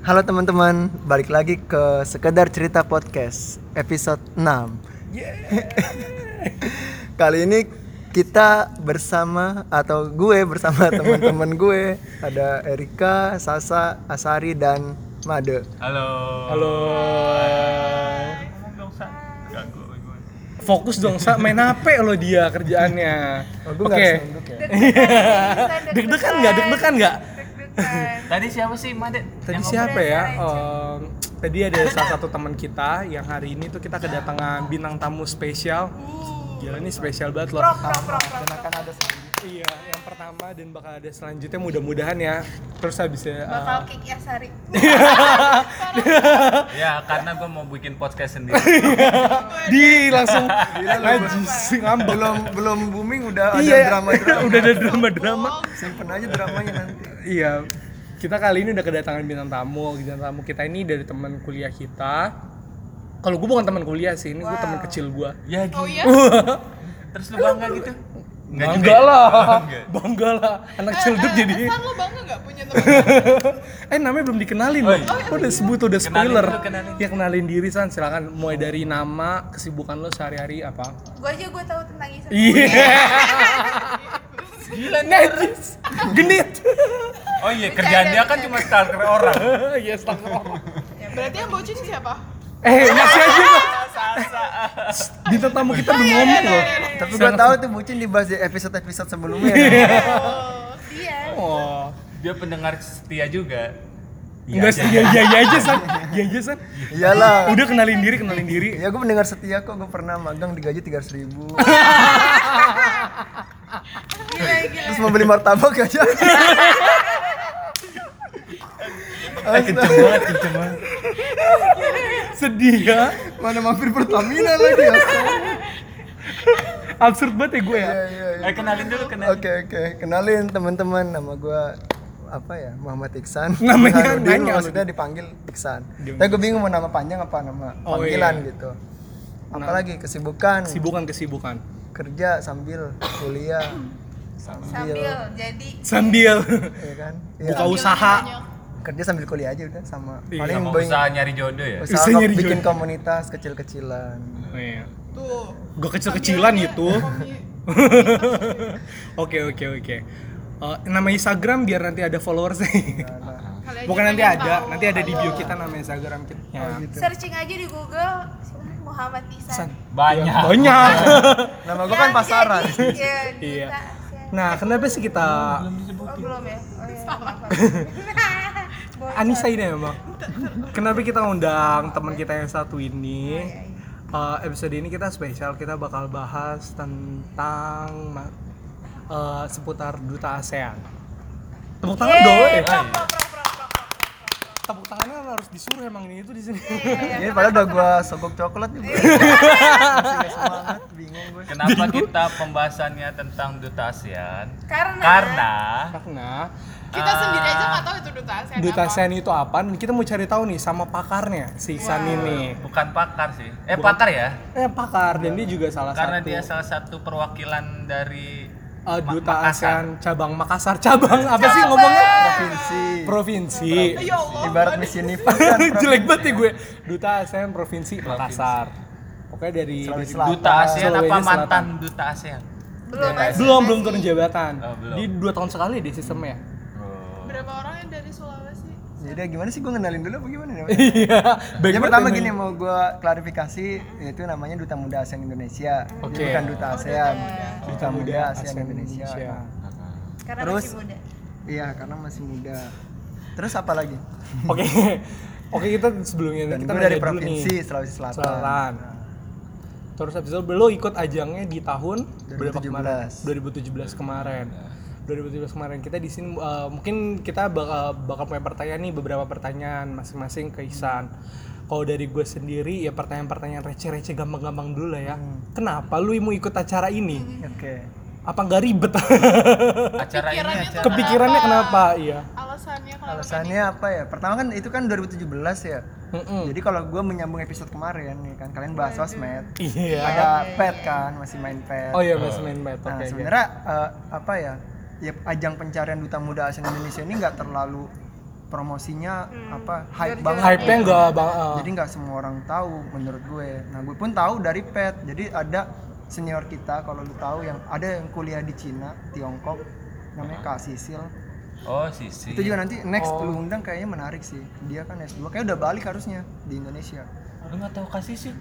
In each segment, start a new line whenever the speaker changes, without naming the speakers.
Halo teman-teman, balik lagi ke Sekedar Cerita Podcast episode 6 Kali ini kita bersama atau gue bersama teman-teman gue Ada Erika, Sasa, Asari, dan Made
Halo.
Halo.
Ngomong dong, Sa. Ganggu gue.
Fokus dong, Sa. Main HP lo dia kerjaannya.
Oh, gue nggak
Oke.
harus nunduk ya?
Deg-degan nggak? Deg-degan nggak?
Deg-degan.
Tadi siapa sih, Madet?
Tadi
Yang
siapa ya? Em,
ngobrol.
tadi ada salah satu teman kita yang hari ini tuh kita kedatangan bintang tamu spesial. Gila ini spesial banget loh.
Prok, prok, prok, prok.
Dan akan ada selanjutnya.
Iya, yang pertama dan bakal ada selanjutnya mudah-mudahan ya. Terus habis ya. eh,
Bakal kick ya Sari.
ngomong? Ya, karena gue mau bikin podcast sendiri.
di langsung
Gila, lu
najis ngambek.
belum belum booming udah ada
Iya,
drama-drama
udah ada drama-drama.
Simpen aja dramanya nanti
Iya, kita kali ini udah kedatangan bintang tamu. Bintang tamu kita ini dari teman kuliah kita. Kalau gue bukan teman kuliah sih, ini gue teman kecil gue.
ya, gitu.
Oh iya?
Terus lu bangga gitu?
Bangga lah,
Enggak.
bangga lah. Anak cilduk jadi.
Kan lo bangga nggak punya teman?
Eh namanya belum dikenalin.
Oh,
Oh,
iya.
udah sebut udah spoiler.
dulu, kenalin.
Ya kenalin diri san, silakan mulai dari nama, kesibukan lo sehari-hari apa?
Gue aja gue tahu tentang Isa.
Iya,
Gila nih.
najis, genit.
Oh iya, kerjaan dia kan cuma stalker orang.
Iya, stalker.
Ya, berarti yang bocil siapa?
Eh masih aja Pak. Bintang tamu kita belum
Oh, iya,
ngomong loh.
Tapi gue tahu tuh bucin dibahas di episode-episode sebelumnya
Oh, dia.
Oh.
Dia pendengar setia juga.
Iya,
Enggak sih, ya, ya, ya aja san, ya aja san.
Iyalah
Udah kenalin diri, kenalin diri.
Ya gue mendengar setia kok, gue pernah magang digaji 300 ribu
Gila, gila.
Terus mau beli martabak aja Astaga,
banget, kenceng banget.
Sedih ya,
mana mampir Pertamina lagi astaga.
absurd banget ya gue ya.
Iya, iya, iya.
Eh, kenalin dulu, kenalin.
Oke oke, kenalin teman-teman nama gue apa ya Muhammad Iksan
Namanya
Burhanuddin,
nanya
maksudnya dipanggil Iksan tapi gue bingung mau nama panjang apa nama
Oh,
panggilan
iya.
gitu apalagi kesibukan
Kesibukan kesibukan.
kerja sambil kuliah sambil,
Sambil
Iya.
jadi
Sambil
ya kan Iya.
buka usaha.
kerja sambil kuliah aja udah sama
Iya,
paling Iya.
Sama
bing-
usaha nyari jodoh ya?
usaha
Usaha
kok
nyari
bikin
jodoh.
komunitas kecil-kecilan
Iya.
tuh.
Gue kecil-kecilan gitu.
Komi-
Oke oke oke. Eh, nama Instagram biar nanti ada followersnya.
Nah, nah.
kali aja
Bukan nanti
kalian
ada,
tahu. Iya. Oh,
nanti ada di bio kita nama Instagram kita. Ya.
gitu.
Searching aja di Google Muhammad Isa.
San.
Banyak.
Banyak.
nama gue kan pasaran
Iya.
Iya.
Iya.
Nah, kenapa sih kita
Oh belum ya? Oh iya. Sama.
Anissa ini emang? Kenapa kita undang teman kita yang satu ini? Eh, episode ini kita spesial, kita bakal bahas tentang ma- eh, seputar duta ASEAN. Tepuk tangan
Yeay,
dong. eh.
prok, prok, prok, prok, prok, prok.
Tepuk tangannya harus disuruh emang ini itu di sini.
ini padahal udah gue sogok coklat juga Masih nggak semangat bingung gue
Kenapa kita pembahasannya tentang duta ASEAN?
Karena,
Karena eh,
Karena
kita sendiri aja nggak tahu itu duta ASEAN
duta
apa.
ASEAN itu apa? Dan kita mau cari tahu nih sama pakarnya, si Iksan ini.
bukan pakar sih. Eh, pakar ya?
Eh pakar dan dia juga salah
Karena
satu
dia salah satu perwakilan dari
eh,
Ma-
duta
Makassar.
ASEAN cabang Makassar cabang apa sih ngomongnya?
provinsi
Provinsi.
Iya,
Ya Allah.
ibarat Miss Universe kan
jelek banget ya gue duta ASEAN provinsi Makassar pokoknya dari
Sulawesi Selatan.
duta ASEAN
Sulawesi
apa
Selatan.
mantan duta ASEAN?
belum
belum
masih- masih-
belum turun jabatan
Oh, belum.
di dua tahun sekali deh sistemnya
Berapa orang yang dari Sulawesi?
jadi ya gimana sih gue kenalin dulu apa gimana nih
iya baik
Ya
banget
pertama
emang.
gini mau gue klarifikasi yaitu namanya Duta Muda ASEAN Indonesia. Jadi
Oke.
bukan Duta ASEAN. Duta Muda ASEAN
ASEAN
Indonesia.
Indonesia.
Nah,
Karena
Terus?
masih muda.
Iya karena masih muda. Terus apa lagi?
oke oke kita sebelumnya
Dan
kita
gue dari
nanya dulu nih.
provinsi Sulawesi Selatan. Nah,
Selatan. terus habis itu lo ikut ajangnya di tahun berapa kemarin
2017.
2017 kemarin 2017 kemarin kita di sini uh, mungkin kita bakal bakal punya pertanyaan nih beberapa pertanyaan masing-masing ke Ihsan. Kalau dari gue sendiri ya pertanyaan-pertanyaan receh-receh gampang-gampang dulu lah ya. Kenapa lu mau ikut acara ini?
Oke.
Apa nggak ribet?
Acara ini ya?
Pikirannya
acara
tuh-
Kepikirannya kenapa? Iya.
Alasannya kalau
Alasannya apa ya? Pertama kan itu kan 2017 ya.
Mm-mm.
Jadi kalau gue menyambung episode kemarin ya kan kalian bahas sosmed.
Iya.
Ada pet kan masih main pet.
Oh iya, Mas main bet.
Nah,
Oke. oke.
sebenarnya eh, apa ya? Ya ajang pencarian duta muda ASEAN Indonesia ini nggak terlalu promosinya
Hmm.
apa hype
Biar
banget
jadi-
Hype-nya nggak bang. eh,
jadi nggak semua orang tahu menurut gue nah gue pun tahu dari pet jadi ada senior kita kalau lu tahu yang ada yang kuliah di Cina Tiongkok namanya Kak Sisil
Oh, sisi.
itu juga
Iya.
nanti next
Oh.
lu undang kayaknya menarik sih dia kan S2 kayaknya udah balik harusnya di Indonesia
Lu nggak tahu kasih sih?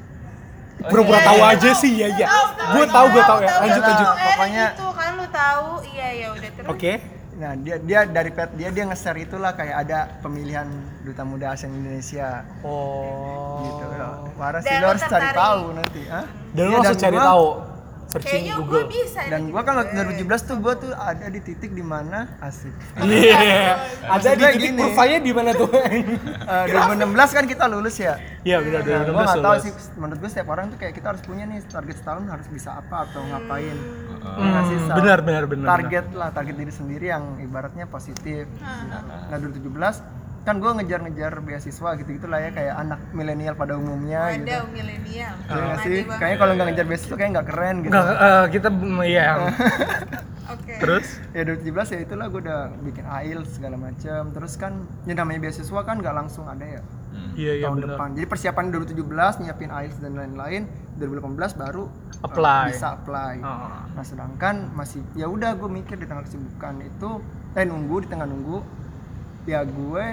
Oh,
Pura-pura
iya.
tahu aja sih, ya ya. Gue tahu, gue tahu ya. Lanjut
tahu.
lanjut.
lanjut. Pokoknya-
itu Eh, kan lu tahu iya ya udah terus
Oke.
nah dia dia dari pet dia dia nge-share itulah kayak ada pemilihan duta muda ASEAN Indonesia
Oh.
gitu loh. Waras
Dan
sih, lu
lu
harus cari
tertarik.
tahu nanti ah
Iya, Dan lu langsung cari tahu searching
kayaknya gue
Google.
bisa
dan
nih.
gua kan waktu 2017 tuh gua tuh ada di titik di mana asik
Iya. Ada di
Maksudnya
titik
gini.
kurvanya di mana tuh? Nah,
Eh, 2016 kan kita lulus ya
Iya
Nah,
benar
gue
2016
gak tau
lulus.
sih, menurut gue setiap orang tuh kayak kita harus punya nih target setahun harus bisa apa atau ngapain Nah, sih, Sal.
Hmm, benar, benar, benar,
Target lah, target diri sendiri yang ibaratnya positif Nah 2017 kan gue ngejar-ngejar beasiswa gitu-gitu lah ya kayak anak milenial pada umumnya gitu
ada milenial
Ah,
Iya nggak
Mati
sih?
banget.
Kayaknya kalau nggak ngejar beasiswa kayak nggak keren gitu
Enggak, eh, kita mm, iya.
oke
Terus
Ya 2017 ya itulah gue udah bikin IELTS segala macem Terus kan, ya namanya beasiswa kan nggak langsung ada ya
Iya, iya
tahun
benar.
depan. Jadi persiapan 2017 nyiapin IELTS dan lain-lain, 2018 baru uh,
Apply.
bisa apply.
Ah.
Nah, sedangkan masih ya udah gue mikir di tengah kesibukan itu eh nunggu di tengah nunggu ya gue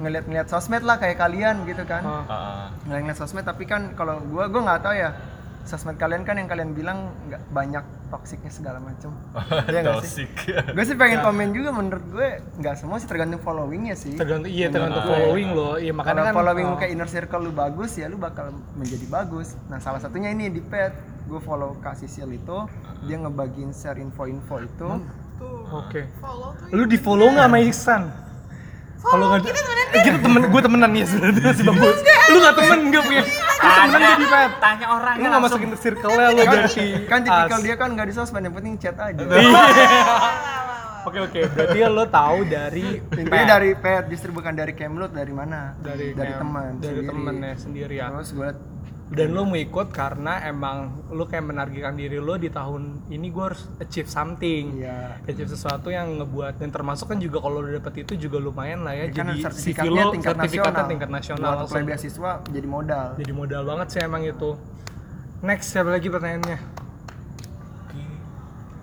ngeliat-ngeliat sosmed lah kayak kalian gitu kan.
Ah.
Heeh.
Ngeliat-ngeliat sosmed tapi kan kalau gue gue nggak tahu ya sosmed kalian kan yang kalian bilang nggak banyak toksiknya segala macem. Iya nggak sih?
Toxic.
Gue sih
Ya.
pengen komen juga menurut gue nggak semua sih tergantung followingnya sih.
Tergantung iya tergantung
Menurut gue.
following lo. Iya
Kalau
makanya kan
following
ah.
lu kayak inner circle lu bagus ya lu bakal menjadi bagus. Nah salah satunya ini di pet, gue follow Kak Sisil itu,
Ah.
dia ngebagiin share info-info itu.
Hmm. ah, Oke.
follow tuh
Lu di follow nggak sama Iksan? Kalau nggak kita temenan kita temen gue temenan ya sebenarnya sih bagus. Lu nggak temen nggak punya. Lu temenan jadi pet.
Tanya orang
Lu nggak masukin ke circle nya lu
Kan,
jadi.
kan tipikal
Iya as.
dia kan nggak di sosmed yang penting chat aja.
Iya.
Wah, wah, wah.
Oke oke. Berarti lo tahu dari
Intinya
pet.
dari pet, justru bukan dari Kemlut dari mana? dari
em-
teman.
dari
sendiri.
temennya sendiri ya.
Terus gue liat
dan lo mau ikut karena emang lo kayak menargetkan diri lo di tahun ini gue harus achieve something
Iya.
achieve sesuatu yang ngebuat dan termasuk kan juga kalau lo dapet itu juga lumayan lah ya,
kan
jadi CV
sertifikatnya
lo
tingkat
sertifikatnya
nasional.
tingkat nasional
Buat
langsung
apply beasiswa jadi modal.
jadi modal banget sih emang itu next siapa lagi pertanyaannya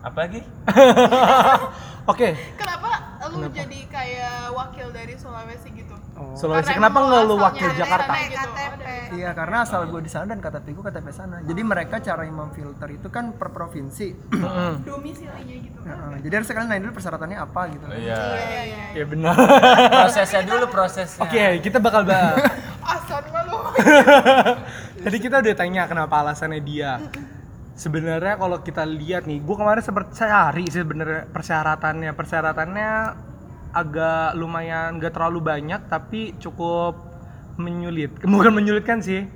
Apa lagi?
oke
Kenapa lu jadi kayak wakil dari Sulawesi gitu?
Oh.
Sulawesi
Karena
kenapa
emang
nggak
lo
lo wakil
asalnya dari
Jakarta
sana gitu.
KTP.
Iya, karena asal gue di sana dan KTP gue KTP sana. Jadi mereka cara memfilter itu kan per provinsi.
Mm-mm.
Domisilinya gitu.
Heeh, jadi harus kalian nanya dulu persyaratannya apa gitu.
Iya.
ya benar
Prosesnya dulu prosesnya.
oke kita bakal bahas
Asan mah lu.
Tadi kita udah tanya kenapa alasannya dia. Sebenarnya kalau kita lihat nih, gue kemarin sempat cari sih sebenarnya persyaratannya. Persyaratannya agak lumayan gak terlalu banyak tapi cukup menyulit. Bukan menyulitkan sih.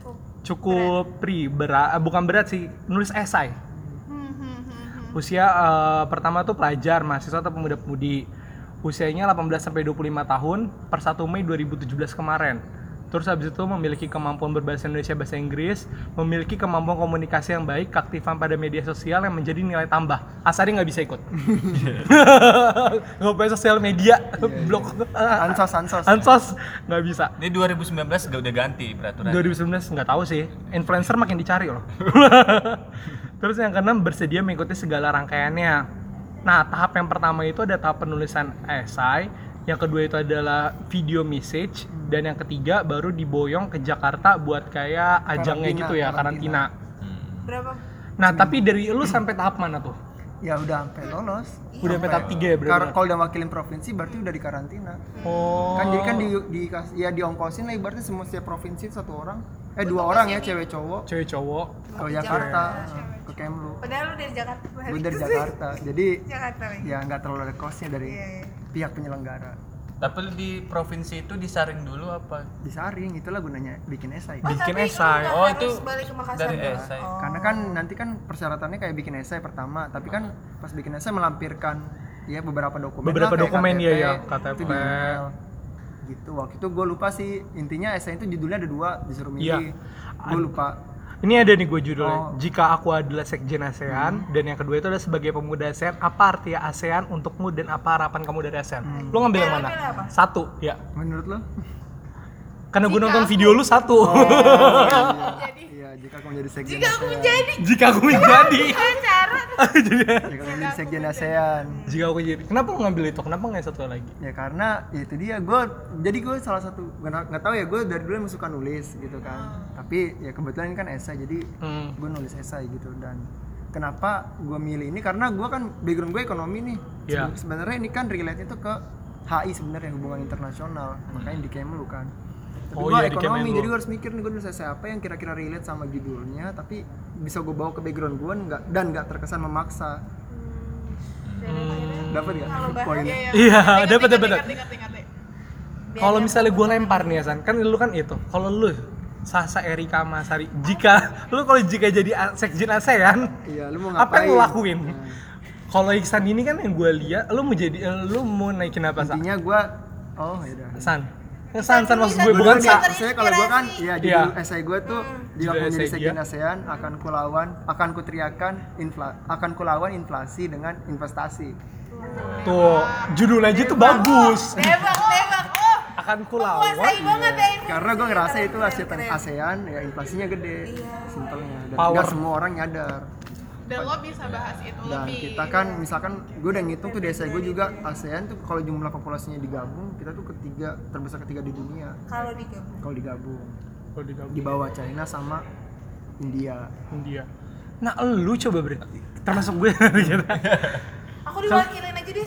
cukup
Cukup pri berat, bukan berat sih, nulis esai.
Hmm,
Usia eh, pertama tuh pelajar, mahasiswa atau pemuda-pemudi. Usianya 18 sampai 25 tahun per 1 Mei 2017 kemarin. Terus habis itu memiliki kemampuan berbahasa Indonesia bahasa Inggris, memiliki kemampuan komunikasi yang baik, keaktifan pada media sosial yang menjadi nilai tambah. Asari nggak bisa ikut. Nggak punya sosial media, blok,
Ansos, ansos.
ansos nggak bisa.
Ini 2019 udah udah ganti peraturan.
2019 nggak tahu sih. Influencer makin dicari loh. Terus yang keenam bersedia mengikuti segala rangkaiannya. Nah, tahap yang pertama itu ada tahap penulisan esai, yang kedua itu adalah video message, dan yang ketiga baru diboyong ke Jakarta buat kayak ajangnya
Karantina,
gitu ya, karantina.
karantina.
berapa
Nah, tapi dari lu sampai tahap mana tuh?
Ya udah sampai lolos.
Udah sampai tahap 3 ya berarti?
Kar- kalau udah wakilin provinsi berarti udah di karantina.
Oh.
Kan jadi kan di, di ya diongkosin lah ibaratnya semua setiap provinsi satu orang. Eh dua orang ya cewek cowok
cewek cowok.
ke Jakarta eh, ke Kemlu.
padahal lu dari Jakarta
Gue dari Jakarta. Jadi
Jakarta lagi
ya nggak terlalu ada kosnya dari
Iya, iya.
pihak penyelenggara.
Tapi lu di provinsi itu disaring dulu apa?
Disaring itulah gunanya bikin esai.
Oh,
Bikin
tapi lu
esai.
nggak
Oh,
harus
itu
balik ke Makassar
dari
dulu.
esai.
Oh.
Karena kan nanti kan persyaratannya kayak bikin esai pertama, tapi kan pas bikin esai melampirkan ya beberapa dokumen. lah,
Beberapa
kayak
dokumen, iya, iya,
itu
KTP.
di email. gitu. Waktu itu gue lupa sih intinya esai itu judulnya ada dua disuruh milih.
Iya.
Gue lupa.
Ini ada nih gue
Oh.
judulnya. Jika aku adalah sekjen ASEAN dan yang kedua itu adalah sebagai pemuda ASEAN, apa arti ASEAN untukmu dan apa harapan kamu dari ASEAN? Lo ngambil yang
Eh, lo
mana?
pilih apa?
Satu, ya.
Menurut lo?
Karena gue
Jika
nonton
aku-
video lu satu.
Oh.
Jadi
Iya, jika aku menjadi sekjen
jika aku
ASEAN.
menjadi
Jika aku menjadi
cara
Jika aku menjadi sekjen ASEAN.
Jika aku jadi Kenapa lo ngambil itu? Kenapa nggak satu lagi?
ya karena ya itu dia gue jadi gue salah satu nggak nggak tahu ya gue dari dulu emang suka nulis gitu kan
Ah.
tapi ya kebetulan ini kan esai jadi
Hmm.
gue nulis esai gitu dan kenapa gue milih ini karena gue kan background gue ekonomi nih
Iya.
Seben- sebenarnya ini kan relate itu ke HI sebenarnya hubungan internasional makanya di Kemlu kan tapi
Hmm. Oh
gue
iya, di
ekonomi
Kemlu.
jadi gue harus mikir nih gue nulis esai apa yang kira-kira relate sama judulnya tapi bisa gue bawa ke background gue nggak dan nggak terkesan memaksa
Dan akhirnya
dapat nggak
Kalau bahas- ya,
poinnya
Hmm. Iya, dapat dapat. dapat.
Ingat, ingat, ingat.
Kalau misalnya gue lempar nih ya San, kan lu kan itu. Kalau lu Sasa Erika Masari, jika lu kalau jika jadi A- sekjen ASEAN,
iya lu mau ngapain
apa yang lu lakuin?
Nah.
Kalau Iksan ini kan yang gue lihat, lu mau jadi, eh, lu mau naikin apa San?
intinya gue oh yaudah
San, Eh, San, San maksud
Kita
gue
dulu
bukan
kita
Sa.
saya kan kalau gue kan ya di
Iya.
esai gue tuh jika
Judul
aku menjadi
esai
sekjen
dia.
ASEAN akan kulawan akan kuteriakan infla akan kulawan inflasi dengan investasi
Tuh, judul aja tuh bagus.
Tebak, tebak. Oh,
Akan kulawan.
kuasai banget ya ini.
karena gue ngerasa itu Asia Ten- ASEAN ya inflasinya gede simpelnya dan
Power.
nggak semua orang nyadar
Dan lo bisa bahas itu
dan
lebih.
kita kan misalkan gue udah ngitung tuh di esai gue juga ASEAN tuh kalau jumlah populasinya digabung kita tuh ketiga terbesar ketiga di dunia
Kalau digabung.
kalau digabung
Kalau di
di bawah China sama India
India. Nah, lu coba berarti termasuk gue gitu.
Aku diwakilin aja deh.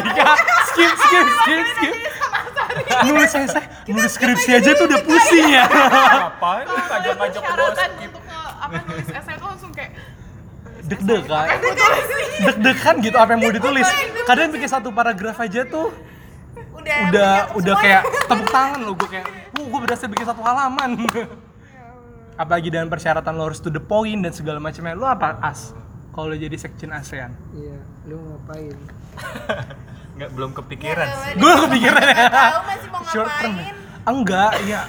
Erika, skip skip skip skip. Nulis saya, nulis skripsi aja tuh udah pusing ya.
Ngapain lu ngajak-ngajak bos?
Persyaratan kan untuk ke apa nulis esai tuh langsung kayak
Deg-degan. Deg-degan gitu apa yang mau ditulis. Kadang bikin satu paragraf aja tuh
Udah.
udah
banyak
udah
semua.
kayak tepuk tangan lo gue kayak, "Uh, gue berhasil bikin satu halaman." Apalagi dengan persyaratan lo harus to the point dan segala macamnya. Lo apa as? Kalau lo jadi sekjen ASEAN.
iya lu ngapain
Nggak, belum kepikiran
Nggak,
sih.
nggak,
Gue kepikiran ya.
nggak Tahu masih mau
short term ya?
ngapain?
enggak iya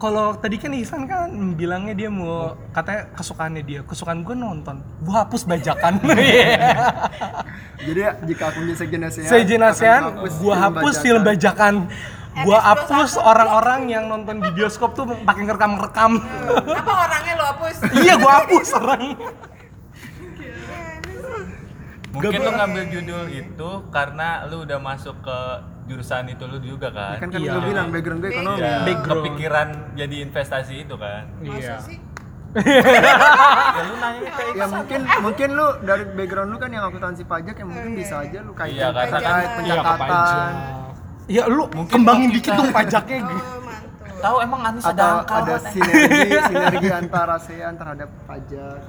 kalau tadi kan Ihsan kan bilangnya dia mau katanya kesukaannya dia kesukaan gue nonton gue hapus bajakan
Iya.
Jadi ya, jika aku menjadi sekjen ASEAN,
sejen
akan
ASEAN
aku kan. hapus
gue
film
hapus
bajakan.
film bajakan gue
RS21.
hapus orang-orang yang nonton di bioskop tuh pakai ngerekam-rekam
Apa orangnya lo hapus?
iya gue hapus orang
Mungkin lu ngambil judul itu karena lu udah masuk ke jurusan itu lu juga
Ya
kan.
Kan kan
Iya.
lu bilang background gue ekonomi.
Ya,
Background.
kepikiran jadi investasi itu kan.
Masa
iya
sih?
Ya lu nanya kayak
Ya mungkin mungkin lu dari background lu kan yang akuntansi pajak yang mungkin bisa aja lu kayak
Iya, kan.
iya
pencatatan
ya lu kembangin dikit dong pajaknya gitu.
Oh, mantul.
tahu emang Anies ada
atau
angka
ada sinergi sinergi antara ASEAN terhadap pajak.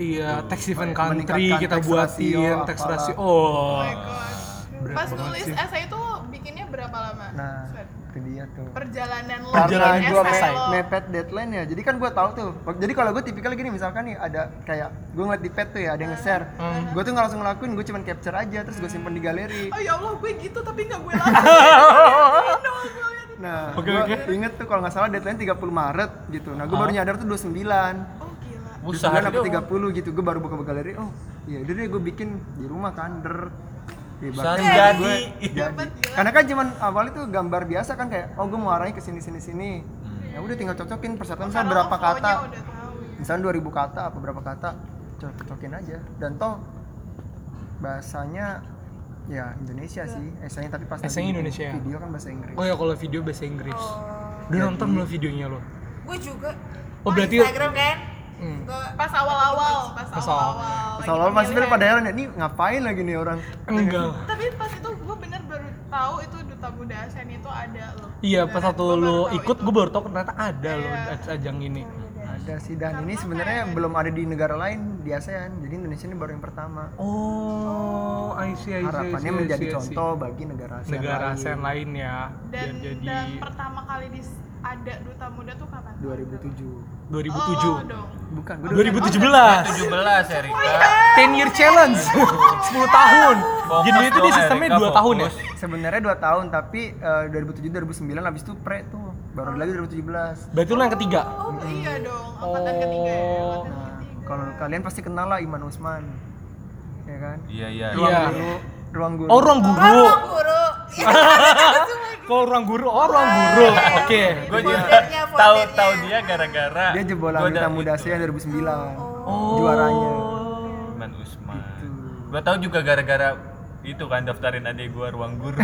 Iya, tax haven
Meningkatkan
country kita
tax
buatin,
ratio,
tax
apalah.
ratio. Oh.
my god. Pas nulis esai itu bikinnya berapa lama?
Nah,
Sweat.
itu dia tuh.
Perjalanan lo
Karena
bikin
gue
esai lo.
mepet deadline ya, jadi kan gue tahu tuh. Jadi kalau gue tipikal gini, misalkan nih ada kayak gue ngeliat di pet tuh ya ada yang nge-share,
Hmm.
gue tuh nggak langsung ngelakuin, gue cuman capture aja, terus gue simpen di galeri.
Oh ya Allah, gue gitu tapi nggak gue lakuin.
Nah,
Oke,
gua
oke.
inget tuh kalau nggak salah deadline 30 Maret gitu. Nah, gue baru nyadar tuh 29.
Oh gila.
29
Buset,
apa
dong.
30 gitu. Gue baru buka galeri, oh iya udah deh gue bikin di rumah kan, der. Di
Sehari
bahkan
jadi.
jadi. Karena kan cuman awalnya tuh gambar biasa kan kayak, oh gue mau arahnya ke sini sini sini.
Hmm.
Ya udah tinggal cocokin persyaratan misalnya berapa kata.
Lo udah tahu ya.
Misalnya 2000 kata apa berapa kata, cocokin aja. Dan toh bahasanya ya Indonesia sih, esainya tapi pas
Esainya
tadi
Indonesia.
Video kan bahasa Inggris.
Oh ya kalau video bahasa Inggris. Udah nonton belum videonya lo?
Gue juga.
Oh, berarti-
Instagram kan?
Hmm.
Gue
Pas awal-awal, pas
Pas
awal-awal. lagi
Soalnya pasti
pemilihan.
pada heran ya, ini ngapain lagi nih orang?
Enggak.
Tapi pas itu gue bener baru tahu itu duta muda ASEAN itu ada lo.
Iya, pas
Beneran,
waktu
gua baru
lo
tahu
ikut
itu.
gue baru tau ternyata ada lo
Iya.
ajang ini.
Ada sih dan ini sebenarnya belum ada di negara lain di ASEAN. Jadi Indonesia ini baru yang pertama.
Oh, I see, I see, I see,
Harapannya
I see,
menjadi
I see.
contoh bagi negara ASEAN
iya, negara
lain.
ASEAN lain ya.
dan,
Biar jadi
dan pertama kali di ada duta muda tuh kapan?
2007.
Lo
2007.
dong.
Bukan, gue udah
2017.
17 Erika.
10 year challenge. 10 tahun.
Fokus
Jadi itu
dong,
di sistemnya
Erika,
2 tahun ya.
fokus.
sebenarnya 2 tahun tapi eh, 2007 2009 habis itu pre tuh. baru ada lagi 2017
Berarti lu yang ketiga.
Oh iya dong, angkatan ketiga ya.
Oh.
Angkatan
Nah,
ketiga.
kalau kalian pasti kenal lah Iman Usman. Ya kan?
Iya iya.
Iya.
Guru, ruang guru.
Oh, ruang guru.
Orang guru. Iya, semua guru.
Kalau ruang guru, oh ruang guru.
Iya,
Oke.
iya.
Gue juga
Fondernya,
tahu
fondernya.
tahu dia gara-gara
Dia jebolan
gua
Duta
dari
Muda
itu,
Asia 2009.
gitu. Oh.
Juaranya. Gitu.
Iman Usman. Gue tahu juga gara-gara itu kan daftarin adik gue ruang guru.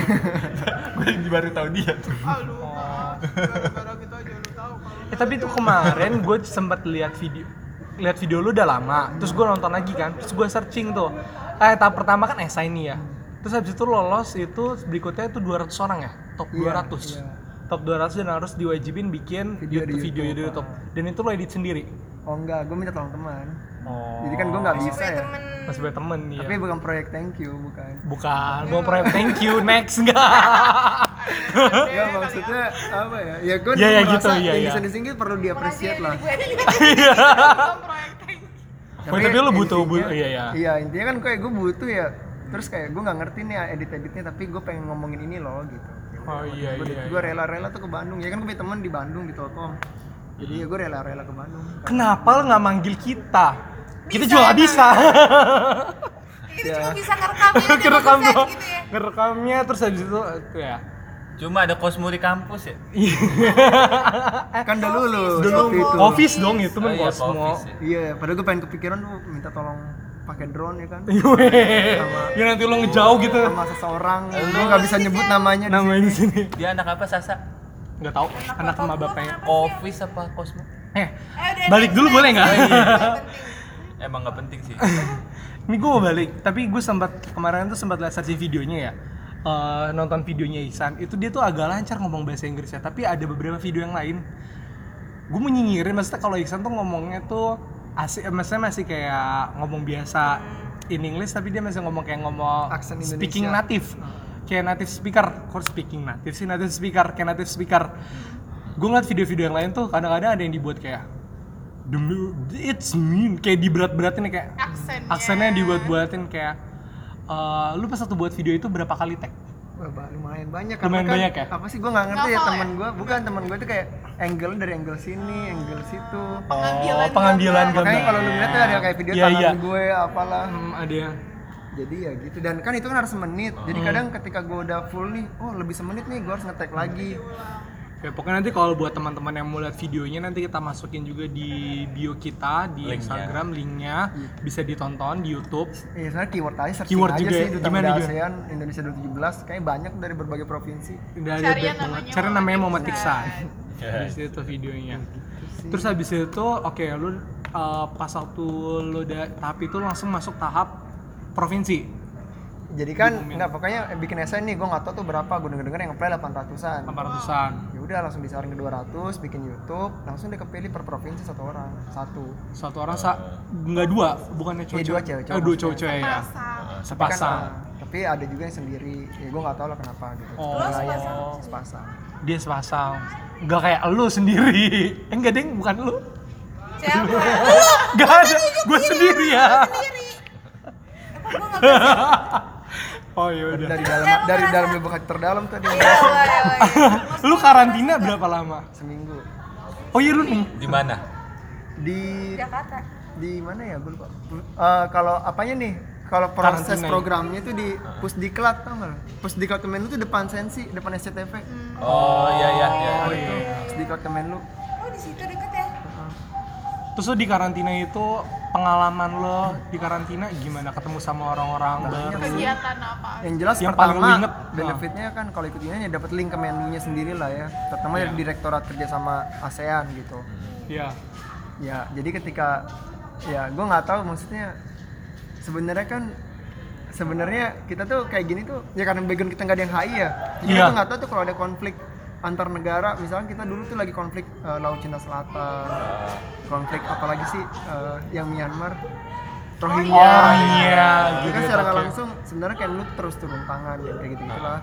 gue baru tahu dia tuh.
Ah lu, ah, gara-gara gitu aja lu tahu kalau
Eh, tapi tuh kemarin gue sempat lihat video lihat video lu udah lama, terus gue nonton lagi kan, terus gue searching tuh. Eh, tahap pertama kan esai nih ya. Terus habis itu lolos itu berikutnya itu 200 orang ya, top
Iya,
200. Top 200 dan harus diwajibin bikin
Video di
YouTube- video di
YouTube. ah.
YouTube. Dan itu lo edit sendiri.
Oh enggak, gue minta tolong teman.
Oh.
Jadi kan gue nggak bisa
Punya
ya.
temen.
Masih punya temen ya.
Tapi bukan proyek thank you, bukan.
Bukan, gue proyek thank you next enggak.
Ya maksudnya apa ya? Ya gue
Iya, iya,
merasa
gitu, iya,
yang
iya.
disini-sini perlu diapresiat
Iya,
lah. Iya.
Bukan proyek tank.
Oh, tapi lu butuh-
intinya-
butuh- iya, iya.
Iya intinya kan kayak gue butuh ya. Terus kayak gue nggak ngerti nih ya edit-editnya tapi gue pengen ngomongin ini loh gitu.
Oh iya
gue
iya.
gue rela-rela tuh ke Bandung ya kan gue punya teman di Bandung di Telkom jadi
Hmm.
ya gue rela-rela ke Bandung
Kenapa lo nggak manggil kita? Kita juga nggak bisa.
Itu Gitu, cuma bisa ngerekamnya aja,
Iya. Ngerekam
bagusan
doang.
gitu ya.
Ngerekamnya terus habis itu eh, ya.
Cuma ada kosmuri kampus ya.
kan udah lulus
Dulu
waktu itu kan
Office dong itu men
Oh, iya,
Cosmo.
office ya.
iya padahal gue pengen kepikiran tuh minta tolong pakai drone ya kan
Weh, Ya nanti lo ngejauh gitu.
sama seseorang Nah, gitu kan. gue nggak bisa nyebut namanya di
Namanya di sini.
Dia anak apa Sasa?
Nggak tahu anak sama bapaknya.
Office apa kosmo?
Eh,
Eh, udah,
balik dulu boleh nggak?
Emang nggak penting sih.
Ini gue mau balik, tapi gue sempat kemarin tuh sempat lihat searching videonya ya. Eh, nonton videonya Ihsan itu dia tuh agak lancar ngomong bahasa Inggris ya tapi ada beberapa video yang lain gue mau nyinyirin maksudnya kalau Ihsan tuh ngomongnya tuh asik eh, maksudnya masih kayak ngomong biasa in English tapi dia masih ngomong kayak
Hmm.
ngomong
Aksen Indonesia.
speaking
Hmm.
native kayak native speaker kok speaking native sih native speaker kayak native speaker
Hmm.
gue ngeliat video-video yang lain tuh kadang-kadang ada yang dibuat kayak "The mu- it's mean kayak diberat-beratin ya, kayak
Aksennya.
aksennya dibuat-buatin kayak eh, lu pas satu buat video itu berapa kali tag?
Wah, ba- lumayan banyak
Lumayan
Karena kan,
banyak ya?
apa sih gue nggak ngerti ya
Novel ya?
teman gue bukan teman gue tuh kayak angle dari angle sini angle situ
Pengambilan
oh, pengambilan gambar.
makanya kalau lu lihat tuh ada kayak video
Iya,
tangan
iya.
gue apalah
Hmm, ada yang
jadi ya gitu dan kan itu kan harus menit jadi
Hmm.
kadang ketika gue udah full nih oh lebih semenit nih gue harus ngetek lagi
Ya, pokoknya nanti kalau buat teman-teman yang mau lihat videonya nanti kita masukin juga di bio kita di
Linknya.
Instagram linknya bisa ditonton di YouTube.
ya sebenarnya keyword aja searching
Keyword
aja
juga
sih
ya?
duta
Gimana
Muda
juga?
ASEAN Indonesia 2017 kayaknya banyak dari berbagai provinsi
Udah ada
Cari
banyak
yang
banget.
namanya
Cari namanya
Momen
Momen Iksan. Di situ videonya. Terus habis itu oke lu eh, pas waktu lu udah tahap itu langsung masuk tahap provinsi.
jadi kan nggak pokoknya bikin esai nih gue nggak tahu tuh berapa gue denger denger yang ngeplay 800an
400-an.
ya udah langsung disaring ke 200 bikin YouTube langsung dia kepilih per provinsi satu orang satu
Satu orang sa nggak dua, bukannya
Iya,
cowok-cowok.
dua cewek-cowok
Eh, dua cewek
Tapi
ya.
kan,
Sepasang.
ah, tapi ada juga yang sendiri ya gue nggak tahu lah kenapa gitu
Oh.
Wilayah, sepasang
Dia sepasang. Nggak kayak elu sendiri. Eh, enggak, Deng, bukan lu.
Siapa?
Gak ada, gue sendiri ya.
Emang gua nggak bisa?
oh iya udah.
dari dalam dari dalam lubuk hati terdalam tuh dia
Iya,
ngomong.
boleh, boleh.
kan- Lu karantina berapa lama?
seminggu
Oh iya lu nih.
Di mana?
di
Jakarta.
di mana ya gue lupa Eh, kalau apanya nih kalau proses
Karantina ya?
programnya tuh di pusdiklat tau nggak lo? pusdiklat kemenlu tuh depan sensi depan SCTV
Oh iya iya iya.
Oh iya.
Gitu. pusdiklat kemenlu
Oh, di situ deket ya?
Terus lu di karantina itu pengalaman lo di karantina gimana ketemu sama orang-orang baru?
kegiatan apa?
yang jelas
Yang paling
pertama
lu inget, Ah.
benefitnya kan kalau ikut ini ya dapat link ke menunya sendiri lah ya terutama dari direktorat kerja sama ASEAN gitu
Iya.
ya jadi ketika ya gue nggak tahu maksudnya sebenarnya kan sebenarnya kita tuh kayak gini tuh ya karena background kita nggak ada yang HI ya jadi
Iya.
kita nggak tahu tuh kalau ada konflik antar negara misalnya kita dulu tuh lagi konflik eh, Laut Cina Selatan konflik apalagi sih eh, yang Myanmar Rohingya
Oh iya,
Jadi
gitu.
kan secara nggak
oke.
langsung sebenarnya kayak lu terus turun tangan ya, kayak gitu
Nah.
gitulah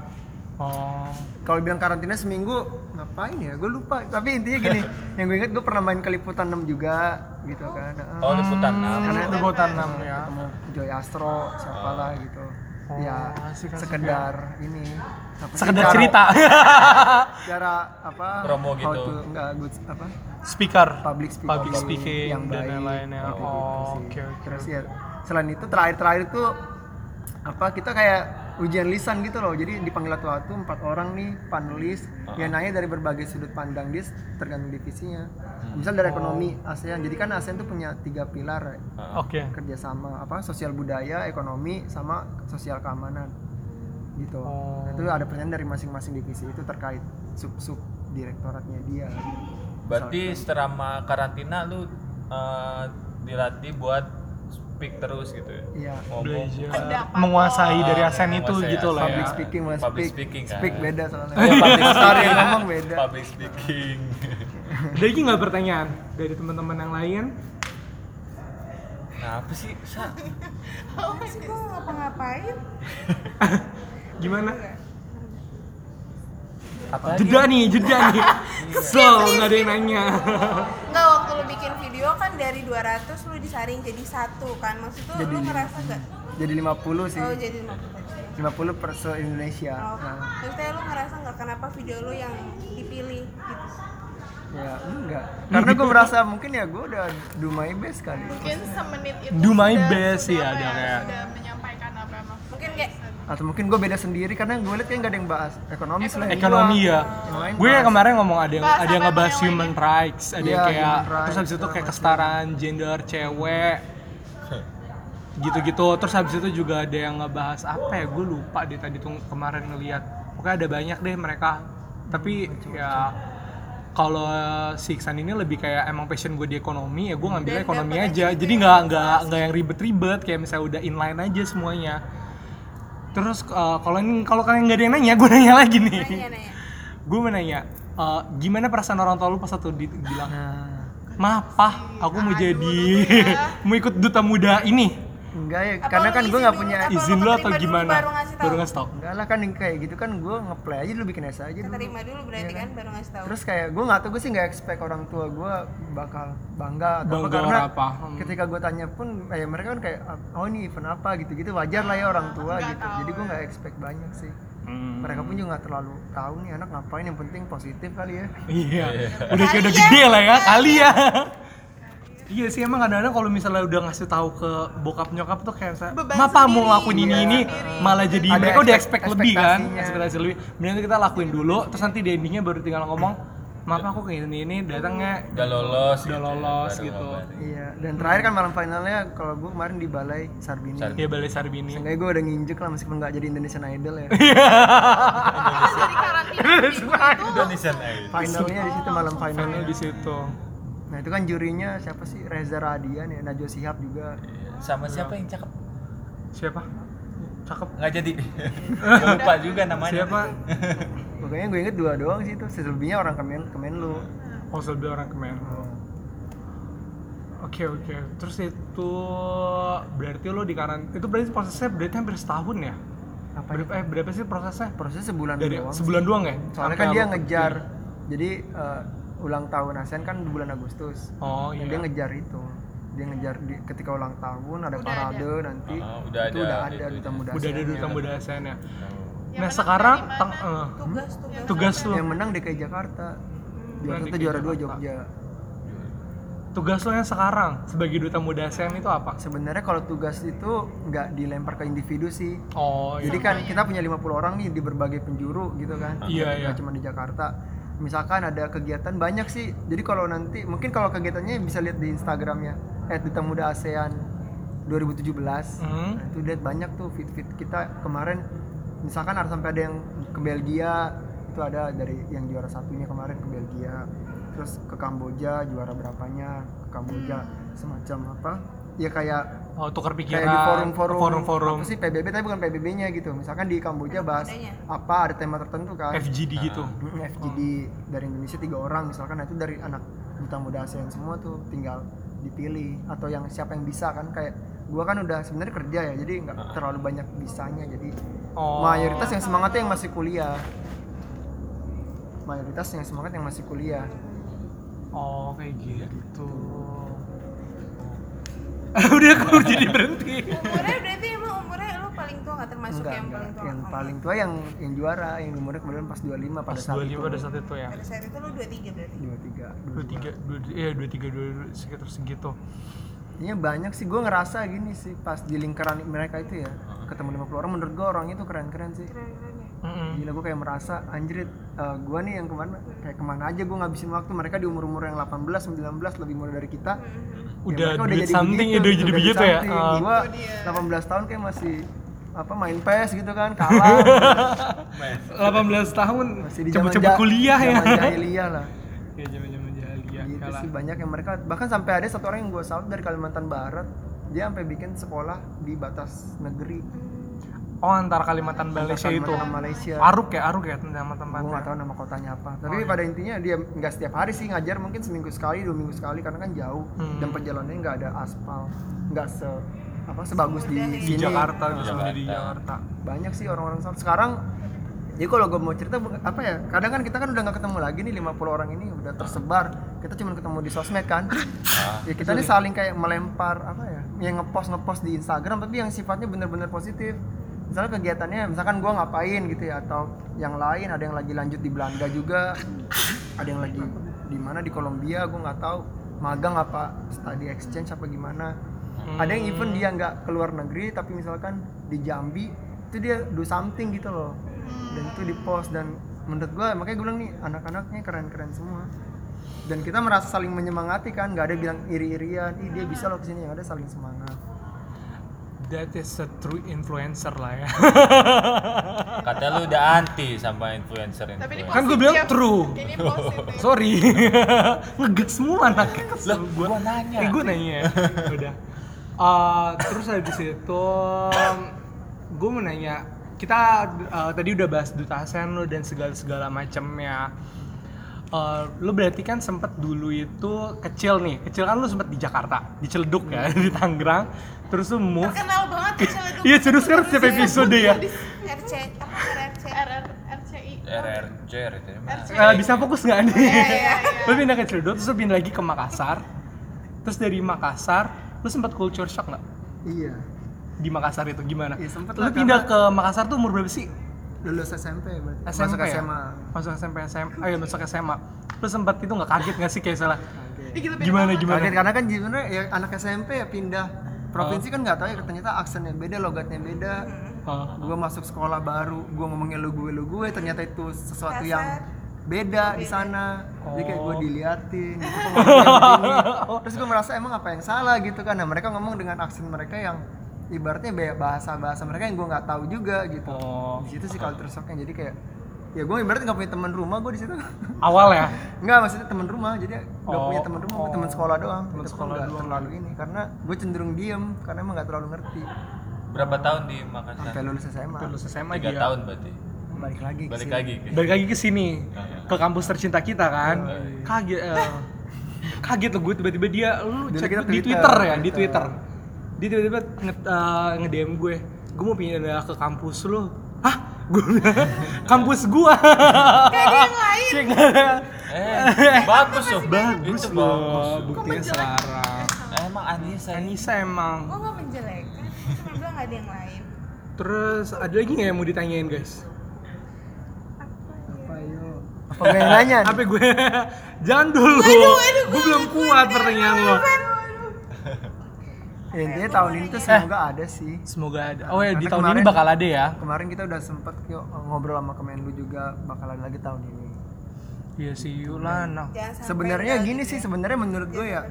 Oh.
kalau bilang karantina seminggu ngapain ya gue lupa tapi intinya gini yang gue inget gue pernah main ke liputan 6 juga gitu kan Heeh.
Oh liputan enam.
Karena itu gue tanam Oh, ya. Ah. Oh,
ketemu Joy Astro siapalah gitu ya
asik, asik,
sekedar ini apa sih,
sekedar
cara-
cerita
cara apa
Promo
how
gitu.
to- enggak good apa
speaker
public speaking,
Public speaking
yang
dan
baik
lain-lainnya.
kayak gitu
Oh,
sih.
oke, oke,
terus ya selain itu terakhir-terakhir tuh apa kita kayak ujian lisan gitu loh jadi dipanggil satu satu empat orang nih panelis yang nanya dari berbagai sudut pandang dia tergantung divisinya misal dari ekonomi
Oh.
ASEAN jadi kan ASEAN tuh punya tiga pilar ya
Oh,
oke
kerjasama apa sosial budaya ekonomi sama sosial keamanan gitu
Oh.
Nah, itu ada pertanyaan dari masing-masing divisi itu terkait sub sub direktoratnya dia
Berarti selama karantina lu eh, dilatih buat speak terus gitu ya.
Iya.
Ngomong.
belajar
Pendapat.
menguasai dari
Ah,
ASEAN itu
menguasai
gitu lah
public
ya
ASEAN.
speaking mas
Public
speak
speaking kan.
speak beda soalnya
Iya, public
Sorry,
speaking.
ngomong beda
Public speaking.
ada lagi nggak pertanyaan dari teman-teman yang lain
nah, apa sih? Sa?
Terus gue ngapa-ngapain?
gimana
Apa lagi?
jeda nih jeda nih so nggak ada yang nanya
Enggak, waktu lu bikin video kan dari 200 lu disaring jadi satu kan Maksud tuh lu
Jadi- Nah.
ngerasa gak?
jadi 50 sih
Oh jadi
50
50
per se Indonesia
Oh,
nah
maksudnya lu ngerasa nggak kenapa video lu yang dipilih gitu?
ya enggak karena gue merasa mungkin ya gue udah do my best kali
Mungkin semenit itu
Do my
sudah-
best
sudah
ya,
apa
Del, ya.
Sudah menyampaikan apa yang maksud.
Mungkin kayak
atau mungkin gue beda sendiri karena gue liat kayak gak ada yang bahas ekonomi selain gua.
ekonomi ya
Yang lain
gue
bahas.
kemarin ngomong ada yang
Bahas
ada yang
apa
ngebahas
namanya?
human rights ada yang
Iya,
kayak
human rights,
terus habis itu kayak
segala
kesetaraan gender cewek gitu-gitu terus habis itu juga ada yang ngebahas apa ya gue lupa deh tadi tuh kemarin ngeliat pokoknya ada banyak deh mereka tapi ya kalau si Iksan ini lebih kayak emang passion gue di ekonomi ya gue ngambil
Dan
ekonomi
dapat
aja jadi nggak nggak nggak yang ribet-ribet kayak misalnya udah inline aja semuanya terus eh, kalau ini kalau kalian nggak ada yang nanya gue nanya lagi nih
nanya-nanya
gue mau nanya eh, gimana perasaan orang tua lu pas satu di bilang
Nah,
mah pah aku mau jadi
ya."
mau ikut duta muda ini
enggak ya
Apa
karena
lu
kan gue
izin
nggak
dulu,
punya
Apa
izin
lu
lu atau
keterima dulu
gimana
baru ngasih tahu?
ngasih tahu
enggak lah kan yang kayak gitu kan gue ngeplay aja dulu bikin esai aja dulu
Keterima dulu berarti
Iya
kan baru ngasih tahu.
terus kayak gue nggak tau gue sih nggak expect orang tua gue bakal bangga atau
Bangga
apa karena
orang apa? Hmm.
ketika gue tanya pun eh, mereka kan kayak oh ini event apa gitu gitu wajar lah ya orang tua gitu jadi
ya.
gue nggak expect banyak sih
Hmm.
mereka pun juga nggak terlalu tahu nih anak ngapain yang penting positif kali ya
iya udah kayak udah gede lah ya kali ya Iya sih emang kadang-kadang kalau misalnya udah ngasih tahu ke bokap nyokap tuh kayak misalnya,
Beban
"Ma, pa mau
sendiri,
ngelakuin ini
beban
ini malah jadi
Ada
mereka udah
expect-
expect lebih kan,
ekspektasinya.
ekspektasi lebih. Mending kita lakuin dulu, terus nanti di endingnya baru tinggal ngomong, maaf aku kayak ini ini datangnya
Udah lolos
Udah
ya,
lolos
baru
gitu.
ngabarin.
iya dan terakhir kan malam finalnya kalau gue kemarin di balai Sarbini
ya balai Sarbini.
Seenggaknya gue udah nginjek lah meskipun nggak jadi Indonesian Idol ya
Iya.
Terus dari karantina seminggu
Nah,
itu
Indonesian Idol.
finalnya di situ malam finalnya
Oh, Finalnya di situ.
nah itu kan jurinya siapa sih Reza Radian ya Najwa Shihab juga
Iya. Sama siapa yang cakep?
Siapa? Cakep.
Nggak jadi. Gua Lupa juga namanya.
Siapa?
Makanya gue inget dua doang sih itu, selebihnya orang kemen Kemenlu.
Oh, Selby orang kemen. Oke oke, terus itu berarti lo di karantina itu berarti prosesnya berarti hampir setahun ya?
Apa ya?
Berapa, eh, berapa sih prosesnya?
Prosesnya sebulan
Dari
doang.
sebulan doang ya?
Soalnya
Sampai
kan dia
lo-
ngejar. Jadi eh, ulang tahun ASEAN kan di bulan Agustus.
Oh
Nah,
iya.
Dia ngejar itu. Dia ngejar di- ketika ulang tahun ada parade nanti.
Ah, udah
itu
ada
udah ada Iya.
itu.
duta muda
Udah ada
ASEAN-nya.
duta muda ASEAN ya. Nah
Yang menang
sekarang
dari
tang-
mana?
eh,
Tugas
Hmm?
tugas.
tugas lo,
Yang menang DKI Jakarta. Juara
Menang
satu
DKI
juara dua
Jakarta.
Jogja.
tugas lo yang sekarang sebagai duta muda ASEAN itu apa?
Sebenarnya kalau tugas itu nggak dilempar ke individu sih.
Oh iya.
Jadi kan kita punya 50 orang nih di berbagai penjuru gitu kan.
Iya,
Nggak
iya.
cuma di Jakarta. Misalkan ada kegiatan banyak sih. Jadi kalau nanti mungkin kalau kegiatannya bisa lihat di Instagramnya @dutamuda ASEAN 2017.
Hmm.
Nah, itu lihat banyak tuh fit-fit kita kemarin misalkan harus sampai ada yang ke Belgia itu ada dari yang juara satunya kemarin ke Belgia terus ke Kamboja juara berapanya ke Kamboja
Hmm.
semacam apa ya kayak
Oh, tukar pikiran.
kayak di forum-forum
forum-forum
apa sih PBB tapi bukan PBB-nya gitu misalkan di Kamboja bahas
Adanya.
apa ada tema tertentu kan
FGD gitu.
Hmm, FGD dari Indonesia tiga orang misalkan nah, itu dari anak duta muda ASEAN semua tuh tinggal dipilih atau yang siapa yang bisa kan kayak gua kan udah sebenarnya kerja ya jadi nggak terlalu banyak bisanya jadi
Ah. Oh.
mayoritas yang semangatnya yang masih kuliah mayoritas yang semangat yang masih kuliah
Oh, kayak gitu. Udah aku jadi berhenti.
Umurnya berarti emang umurnya lu pas paling tua nggak termasuk
Enggak,
yang
enggak.
paling tua
Yang
Oh,
paling tua yang yang juara, yang umurnya kemudian pas 25 pada
pas
saat
25
itu.
pada saat itu ya
pada saat itu lu 23 berarti
23.
23 dua- iya 23 22 sekitar segitu
Kayaknya Iya, banyak sih gue ngerasa gini sih pas di lingkaran mereka itu ya. Ketemu 50 orang menurut gue orang itu keren-keren sih.
keren-keren ya
Mm-mm.
Gila gue kayak merasa anjrit eh, gue nih yang kemana kayak kemana aja gue ngabisin waktu mereka di umur-umur yang 18, 19 lebih muda dari kita.
udah
mereka
duit something ya udah jadi
duit
begitu ya
something.
Ah.
Gua 18 tahun kayak masih apa main PES gitu kan kalah
18 tahun
masih di zaman
cepet-cepet
ja-
kuliah ya
zaman jahiliyah lah
ya zaman-zaman jahiliyah
gitu
kalah
sih banyak yang mereka bahkan sampai ada satu orang yang gue salut dari Kalimantan Barat dia sampai bikin sekolah di batas negeri
oh antara Kalimantan Malaysia
iya.
itu
Kalimantan Malaysia
Aruk ya Aruk ya tentang
gue
tempat
nggak tahu nama kotanya apa tapi
Oh, iya.
pada intinya dia nggak setiap hari sih ngajar mungkin seminggu sekali dua minggu sekali karena kan jauh
Hmm.
dan perjalanannya nggak ada aspal nggak se apa sebagus di,
di
sini. Iya.
Jakarta gitu
Jakarta.
di Jakarta
banyak sih orang-orang sama. sekarang jadi kalau gue mau cerita bukan- apa ya kadang kan kita kan udah nggak ketemu lagi nih 50 orang ini udah tersebar kita cuma ketemu di sosmed kan ya kita nih saling kayak melempar apa ya yang ngepost ngepost di Instagram tapi yang sifatnya bener-bener positif misalnya kegiatannya misalkan gue ngapain gitu ya atau yang lain ada yang lagi lanjut di Belanda juga ada yang lagi di mana di Kolombia gue nggak tahu magang apa study exchange apa gimana ada yang even dia nggak keluar negeri tapi misalkan di Jambi itu dia do something gitu loh dan itu di post dan menurut gue makanya gue bilang nih anak-anaknya keren-keren semua dan kita merasa saling menyemangati kan nggak ada bilang iri-irian ih dia bisa loh kesini yang ada saling semangat
that is a true influencer lah ya
Kata lu udah anti sama influencer ini.
Tapi ini
kan gue bilang
Positif.
true
Ini positif.
sorry ngegas semua anaknya kesel gue
gua nanya.
eh gue nanya ya udah Eh, terus habis itu gue mau nanya kita eh, tadi udah bahas duta ASEAN lo dan segala segala macamnya Eh, lo berarti kan sempet dulu itu kecil nih kecil kan lo sempet di Jakarta di Ciledug ya di Tangerang terus lo move
terkenal banget kecil itu
iya serius kan setiap episode ya
RC apa RC
RR RCI.
RRJ itu ya. Mas.
Eh, bisa fokus nggak nih?
iya,
Lo pindah ke Ciledug, terus lo pindah lagi ke Makassar. Terus dari Makassar, lo sempat culture shock nggak?
iya
Di Makassar itu gimana?
Iya, sempet
lo
lah,
pindah ke Makassar tuh umur berapa sih?
lulus SMP berarti masuk
SMP ya?
SMA
Masuk SMP, SMA. Oh iya, masuk SMA. Lo sempat itu nggak kaget nggak sih kayak salah?
Ih, gila, beda
Gimana
banget.
gimana?
Kaget, karena kan sebenarnya ya anak SMP ya pindah provinsi kan nggak tahu ya ternyata aksennya beda logatnya beda
Oh.
gue masuk sekolah baru gue ngomongnya lu gue lu gue ternyata itu sesuatu
Kasar.
yang beda di sana jadi kayak
Oh.
gue diliatin gitu, kok ngomongnya begini? terus gue merasa emang apa yang salah gitu kan nah mereka ngomong dengan aksen mereka yang ibaratnya bahasa bahasa mereka yang gue nggak tahu juga gitu
Oh.
di situ sih culture shocknya jadi kayak ya gue ibaratnya nggak punya teman rumah gue di situ
Awal ya?
Enggak, maksudnya teman rumah. Jadi enggak
Oh,
punya teman rumah,
oh.
gue teman sekolah doang. Itu
Teman
pun
sekolah
nggak
doang.
terlalu ini karena gue cenderung diem karena emang enggak terlalu ngerti.
Berapa tahun di
Sampai
Makassar?
lulus SMA.
Lulus SMA
Tiga
dia.
tahun berarti.
Balik lagi. ke
Balik
sini.
lagi.
gitu ya. Balik lagi ke sini,
Iya,
ke kampus tercinta kita kan.
Iya,
Kaget, eh, kaget lo gue tiba-tiba dia, lu
Dulu
cek
kita Twitter, Iya.
di Twitter ya, di Twitter.
Twitter.
Dia tiba-tiba nge, eh, nge-DM gue, gue mau pindah ke kampus lu. Hah? Gue bilang, kampus gue. Kayak
Eh, bagus loh.
Bagus
Itu bagus.
loh, buktinya selarang.
Emang Anissa ini
Anissa emang.
gua nggak menjelekkan cuma bilang nggak ada yang lain
Terus ada lagi nggak yang mau ditanyain guys?
Apa yo? Apa gue yang nanya? nih?
Apa gue? Jangan dulu. gue belum kuat pertanyaan lo.
Ya, intinya tahun ini tuh semoga ada sih.
Semoga ada. Oh ya di
Karena
tahun ini
kemarin-
bakal ada ya.
Kemarin kita udah sempet yuk, ngobrol sama Kemenlu juga bakalan lagi tahun ini.
Iya sih Yulana.
jangan sampai
Sebenarnya
gagal.
gini sih sebenarnya menurut gue ya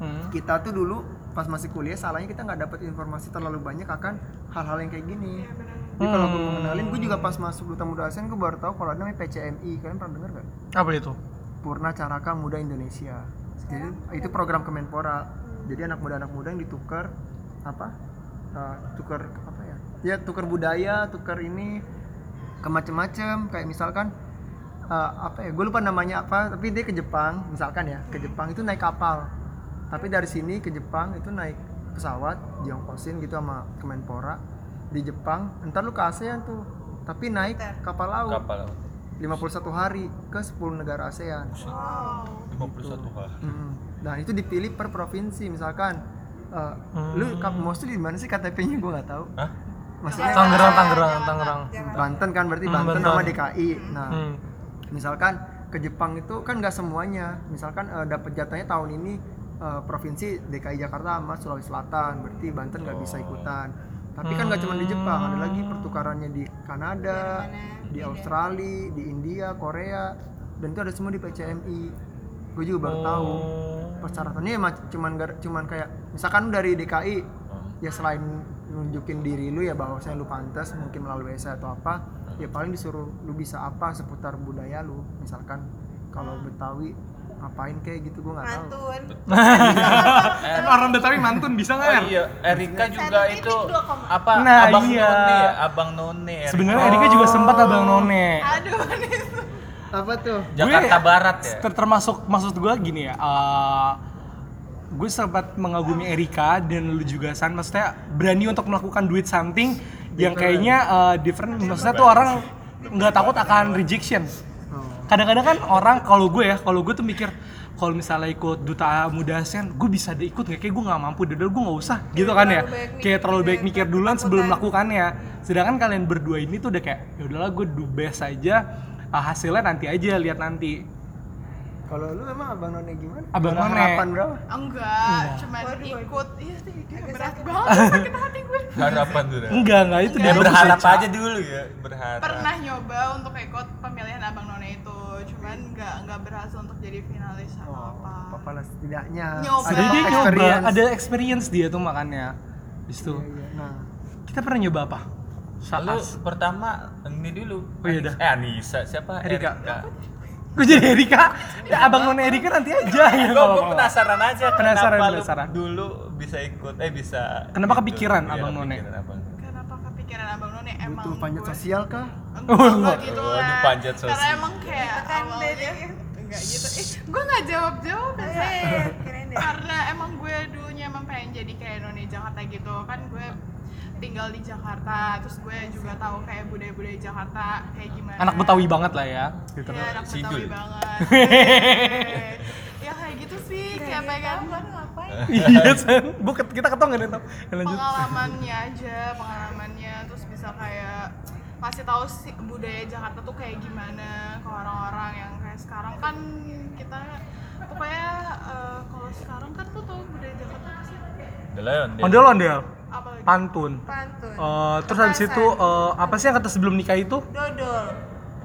Hmm.
kita tuh dulu pas masih kuliah salahnya kita nggak dapat informasi terlalu banyak akan hal-hal yang kayak gini. Jadi kalau gue mau kenalin, gue juga pas masuk Duta Muda ASEAN gue baru tahu kalau ada namanya PCMI. Kalian pernah dengar gak?
Apa itu?
Purna Caraka Muda Indonesia. Jadi itu program Kemenpora. Jadi anak muda-anak muda yang ditukar apa? Eh, tukar apa ya? Ya tukar budaya, tukar ini ke macem-macem. Kayak misalkan eh, apa ya? Gue lupa namanya apa. Tapi dia ke Jepang, misalkan ya. Ke Jepang itu naik kapal. Tapi dari sini ke Jepang itu naik pesawat diongkosin gitu sama Kemenpora di Jepang. Ntar lu ke ASEAN tuh. Tapi naik kapal laut.
kapal
51 hari ke 10 negara ASEAN.
Gitu.
51 kali.
Mm. Nah, itu dipilih
Hmm.
per provinsi misalkan eh, lu kap mostly di mana sih KTP-nya gua nggak tahu.
Hah?
maksudnya
Tangerang, Tangerang, Tangerang.
Banten kan berarti
Hmm,
Banten,
Banten.
sama DKI. Nah,
Hmm.
misalkan ke Jepang itu kan nggak semuanya. Misalkan eh, dapat jatahnya tahun ini eh, provinsi DKI Jakarta sama Sulawesi Selatan, berarti Banten nggak bisa ikutan. Tapi kan nggak cuma di Jepang, ada lagi
Hmm.
pertukarannya di Kanada, di Australia, di India, Korea, dan itu ada semua di PCMI. Gue juga baru tahu
Oh.
persyaratannya emang cuman gar- cuman kayak misalkan lu dari DKI
Oh.
ya selain nunjukin diri lu ya bahwasanya lu pantas mungkin melalui essay atau apa ya paling disuruh lu bisa apa seputar budaya lu misalkan kalau Betawi ngapain kayak gitu gue nggak tahu
Mantun.
Kan Orang Betawi mantun bisa nggak?
Oh
Er?
iya, Erika juga
titik
itu
dua koma.
apa?
Nah,
abang
iya.
none ya, abang none. Erika.
Sebenarnya Erika juga sempat abang none.
Aduh, ini
apa tuh
Jakarta
Gue-
Barat ya.
Ter- termasuk maksud gue gini ya eh, gue sempat mengagumi Erika dan lu juga San maksudnya berani untuk melakukan duit something yang kayaknya eh, different maksudnya tuh orang nggak takut akan rejection
Oh,
kadang-kadang kan orang kalau gue ya kalau gue tuh mikir kalau misalnya ikut duta muda ASEAN, gue bisa deh ikut nggak? Kayak gue nggak mampu, udah gue nggak usah, gitu kan ya.
terlalu banyak
Kayak kan. terlalu baik mikir duluan sebelum
ketakutan.
melakukannya. Sedangkan kalian berdua ini tuh udah kayak, ya udahlah gue do best aja, ah, hasilnya nanti aja, lihat nanti.
kalau lu emang abang none gimana
Abang
Berapa
None.
harapan berapa
enggak, cuman ikut. Iya sih, dia berat banget sakit hati gue.
Harapan tuh. Ra.
Enggak, enggak itu
Ya
dia
berharap aja dulu ya, berharap.
Pernah nyoba untuk ikut pemilihan Abang None itu, cuman nggak nggak berhasil untuk jadi finalis
Oh,
atau apa.
apa lah setidaknya
Nyoba.
Ada dia nyoba,
experience.
ada experience dia tuh makannya. Habis itu.
Iya, iya. nah
Kita pernah nyoba apa?
Lu
Saas.
pertama ini dulu.
Oh iya dah.
Eh Anissa, siapa?
Erika. Gue jadi Erika. Ya, abang none Erika nanti aja ya.
Gue
kalau
gue
mau.
penasaran aja
Penasaran,
kenapa
penasaran.
lu dulu bisa ikut eh bisa Iya,
Kenapa kepikiran Abang None?
kepikiran Abang None.
Kenapa kepikiran Abang None emang
butuh panjat
gue-
sosial kah
Enggak,
Oh,
enggak gitu
Waduh,
lah.
panjat
Karena
sosial.
emang kayak
Kan dari
awalnya enggak gitu. Eh, gue nggak jawab-jawab ya. Sa.
Eh, keren deh.
karena emang gue dulunya emang pengen jadi kayak noni Jakarta gitu kan gue tinggal di Jakarta terus gue juga tahu kayak budaya-budaya Jakarta kayak gimana
Anak Betawi banget lah ya. Gitu.
ya anak
Sidul.
Betawi banget Iya. ya kayak gitu sih kayak gitu. pengen
Kan ngapain?
Iya, Sen. Bu, kita ketong enggak tahu. Ya, Lanjut.
pengalamannya aja pengalamannya terus bisa kayak masih tahu sih budaya Jakarta tuh kayak gimana ke orang-orang yang kayak sekarang kan kita pokoknya eh, kalau sekarang kan tuh tahu budaya Jakarta apa sih
The Lion. dia.
Ondel-ondel,
apalagi
pantun.
Pantun.
Eh, terus habis itu eh, apa sih yang kata sebelum nikah itu?
Dodol.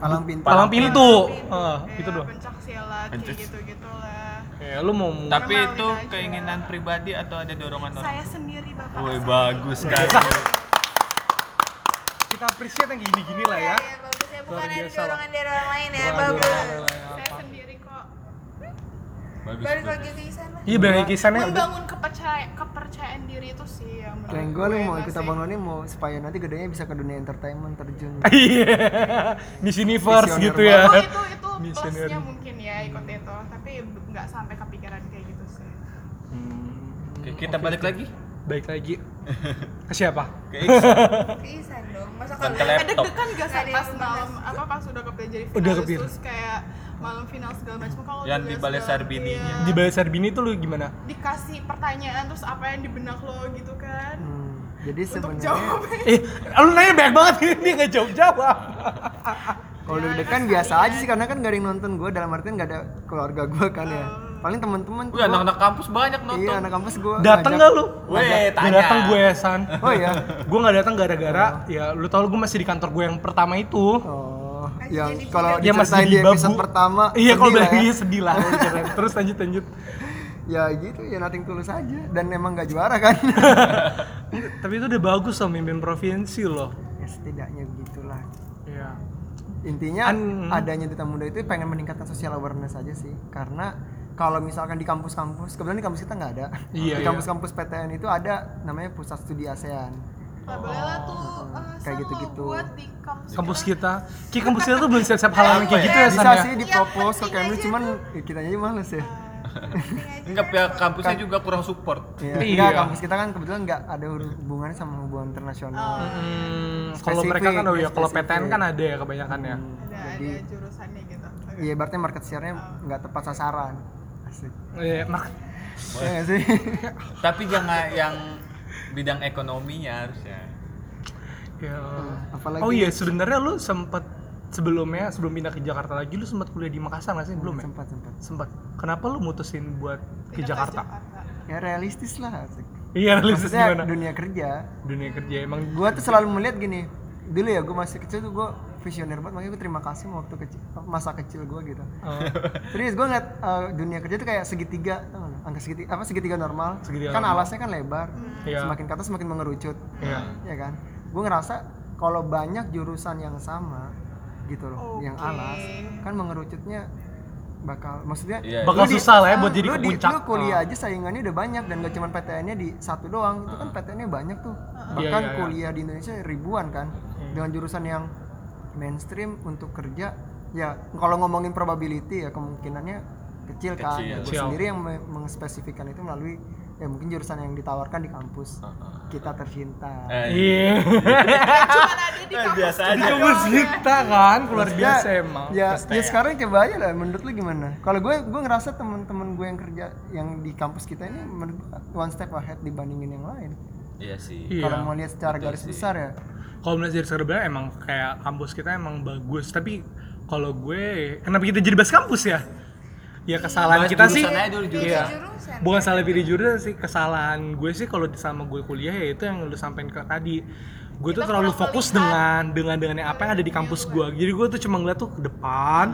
palang pintu
Palang pintu. Heeh, itu doang.
pencak silat kayak gitu gitulah
Ya, lu mau
Tapi
Normalin
itu
aja.
keinginan pribadi atau ada dorongan orang?
saya sendiri bapak
Woi
saya.
bagus sekali.
kita appreciate yang gini-gini lah ya.
Ya, bagus ya. Bukan
Luar
ada
biasa,
dorongan dari orang lain ya.
Dorongan dari
Bagus.
orang lain lah ya.
saya sendiri kok
Bagus.
Balik
bagus.
lagi ke sana.
Iya, banyak kisahnya.
membangun kepercaya kepercayaan diri itu sih yang menurut
Keren gue lu mau ikut
masih-
abang none mau supaya nanti gedenya bisa ke dunia entertainment terjun
Iya, Miss Universe
Visioner
gitu ya.
Oh, itu itu
Missionary.
plusnya mungkin ya ikut itu tapi b- nggak sampai kepikiran kayak gitu sih
Oke, kita balik lagi
Hmm, Baik lagi. Ke siapa?
ke Iksan.
Ke Isan dong. Masa
Bukan
kalau
ke laptop.
deg-degan gak
Nggak
sih
ada
kan pas
yang
malam apa pas udah kepilih jadi
Udah
finalis
kepilih.
terus kayak malam final segala macam kalau
Yang
udah
di Balai
segala-
Sarbininya.
iya,
Di Balai Sarbini tuh lu gimana?
dikasih pertanyaan terus apa yang di benak lo gitu kan
Hmm, jadi
untuk
sebenarnya
jawab
Eh, lu nanya banyak banget dia nggak jawab jawab.
kalau deg-degan biasa aja sih karena kan gak ada yang nonton gue dalam artian gak ada keluarga gue kan ya paling teman-teman tuh gua-
Wih, Oh, iya, anak-anak kampus banyak
iya
nonton.
anak kampus gue
Datang nggak lu?
Eh,
Weh,
Nggak
tanya.
datang gue San.
oh iya
gue nggak datang gara-gara ya lu tau gue masih di kantor gue yang pertama itu.
oh yang
jadi
kalau
Ya masih
diceritain
di
di
babu.
episode pertama
Iya
sedih
kalau
lah
bilang
ya.
iya sedih lah. Terus lanjut lanjut.
ya gitu ya nating tulus aja dan emang gak juara kan
Tapi itu udah bagus loh mimpin provinsi loh.
ya setidaknya begitulah
Iya.
intinya
An-
adanya duta muda itu pengen meningkatkan social awareness aja sih karena kalau misalkan di kampus-kampus kebetulan di kampus kita nggak ada
Iya,
di
iya.
kampus-kampus PTN itu ada namanya pusat studi E ASEAN
Nah, bolehlah tuh eh,
Kayak
San, lo
gitu-gitu.
buat di kampus,
Oh, Kampus kita, ki kampus kita tuh belum siap-siap halangan kayak gitu ya San
bisa
ya.
sih
Iya,
dipropose ke Kemlu cuman kita aja males ya
Enggak, pihak kampusnya juga kurang support.
Iya.
Iya.
Nggak, kampus kita kan kebetulan nggak ada hubungannya sama hubungan internasional
Oh.
Hmm, kalau mereka kan oh ya kalau
Spesifik, Hmm.
PTN kan ada ya kebanyakan ya.
ada ada Oh. jurusannya gitu
iya berarti market share-nya nggak tepat sasaran asik
Iya, mak-
Iya nggak sih
Tapi jangan yang bidang ekonominya harusnya.
Ya.
apalagi-
Oh iya, sebenarnya lu sempat sebelumnya sebelum pindah ke Jakarta lagi lu sempat kuliah di Makassar nggak sih belum ya?
Hmm, sempat sempat
Sempat. Kenapa lu mutusin buat ke Jakarta?
ya realistis lah asik.
Iya, realistis
maksudnya
gimana?
dunia kerja
Dunia kerja emang
gue tuh selalu melihat gini dulu ya gue masih kecil tuh gue visioner banget makanya gue terima kasih sama waktu kecil masa kecil gue gitu
eh,
serius gue ngeliat eh, dunia kerja tuh kayak segitiga tau nggak? angka segitiga apa segitiga normal
Segitiga
kan
normal.
alasnya kan lebar
Iya.
semakin ke atas semakin mengerucut
Iya.
ya kan gue ngerasa kalau banyak jurusan yang sama gitu loh yang
Oke.
alas kan mengerucutnya bakal maksudnya
Iya.
bakal
Lu di-
susah lah ya buat jadi
lu
ke
di,
puncak. Ah.
lu kuliah aja saingannya udah banyak dan gak cuma PTN-nya di satu doang itu
Ah.
kan PTN-nya banyak tuh
Iya,
bahkan
iya, iya.
kuliah di Indonesia ribuan kan dengan jurusan yang mainstream untuk kerja ya kalau ngomongin probability ya kemungkinannya kecil kan
Kecil.
Ya, gue
Kecil.
sendiri yang me- mengespesifikan itu melalui ya mungkin jurusan yang ditawarkan di kampus
Ah,
kita tercinta
Eh,
Iya.
eh, biasa aja.
Itu kita kan luar
Maksudnya,
biasa emang.
ya, ya sekarang coba aja lah menurut lu gimana kalau gue gue ngerasa temen-temen gue yang kerja yang di kampus kita ini menurut gue one step ahead dibandingin yang lain
Iya sih.
Iya.
kalau mau lihat secara garis besar ya
Kalau melihat dari serbanya emang kayak kampus kita emang bagus, tapi kalau gue kenapa kita jadi bahas kampus ya? Ya kesalahan
Bahas
kita sih.
jurusan aja dulu, jurusan.
Iya.
jurusan.
Bukan salah pilih jurusan sih, kesalahan gue sih kalau sama gue kuliah ya itu yang lu sampein ke tadi. Gue tuh terlalu fokus dengan dengan dengan yang apa yang ada di kampus gue. Jadi gue tuh cuma ngeliat tuh ke depan,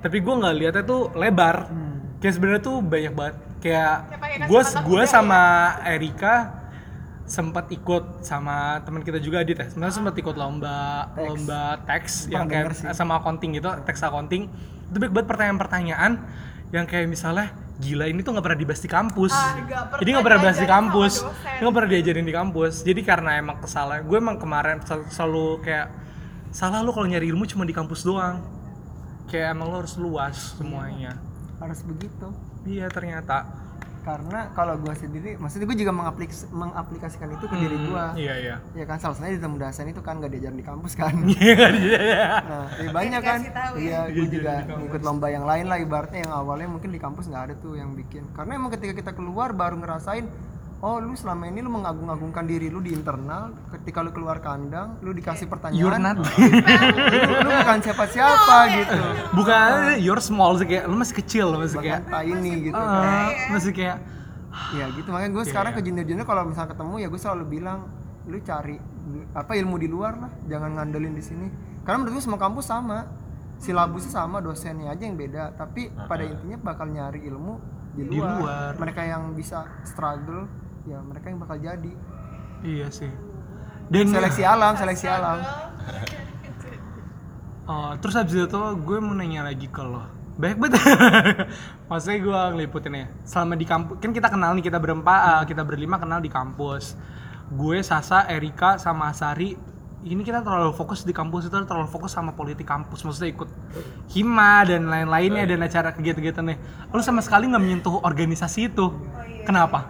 tapi gue nggak liatnya tuh lebar. Kayak sebenarnya tuh banyak banget kayak
Kayak pakai
gue
kacamata
gue
kuliah ya.
sama Erika sempat ikut sama teman kita juga Adit ya. Sebenarnya sempat ikut lomba lomba teks yang kayak sama accounting gitu, teks accounting. Itu banyak banget pertanyaan-pertanyaan yang kayak misalnya gila ini tuh nggak pernah dibahas di kampus.
Ah, nggak pernah
Jadi nggak pernah bahas di
diajarin sama
kampus.
dosen.
Nggak pernah diajarin di kampus. Jadi karena emang kesalahan, gue emang kemarin sel- selalu kayak salah lo kalau nyari ilmu cuma di kampus doang. Kayak emang lo harus luas semuanya.
harus begitu
Iya ternyata.
karena kalau gue sendiri maksudnya gue juga mengaplik- mengaplikasikan itu ke diri gue
Iya iya.
ya kan salah satunya di temu dasain itu kan gak diajarin di kampus kan nah ya banyak kan
Iya, dikasih tahu ya.
iya gue juga ikut lomba yang lain lah ibaratnya yang awalnya mungkin di kampus nggak ada tuh yang bikin karena emang ketika kita keluar baru ngerasain oh lu selama ini lu mengagung-agungkan diri lu di internal ketika lu keluar kandang lu dikasih
You're
pertanyaan
not.
lu, lu bukan siapa-siapa gitu
Bukan you're small sih kayak lo masih kecil lo masih kayak
bahkan ini gitu
Ah.
kan.
eh, masih kayak
ya gitu makanya
Iya,
gue sekarang ke junior-junior kalau misalnya ketemu ya gue selalu bilang lu cari du- apa ilmu di luar lah jangan ngandelin di sini karena menurut gue semua kampus sama silabusnya sama dosennya aja yang beda tapi pada intinya bakal nyari ilmu di luar.
Di luar.
mereka yang bisa struggle ya mereka yang bakal jadi
iya sih. Dan
seleksi alam seleksi alam
Oh, terus habis itu gue mau nanya lagi ke lo. Baik banget. Maksudnya gue ngeliputin ya. Selama di kampus, kan kita kenal nih kita berempat, eh, kita berlima kenal di kampus. Gue, Sasa, Erika, sama Asari. Ini kita terlalu fokus di kampus itu terlalu fokus sama politik kampus. Maksudnya ikut hima dan lain-lainnya dan acara kegiatan-kegiatannya. Lo sama sekali nggak menyentuh organisasi itu. Kenapa?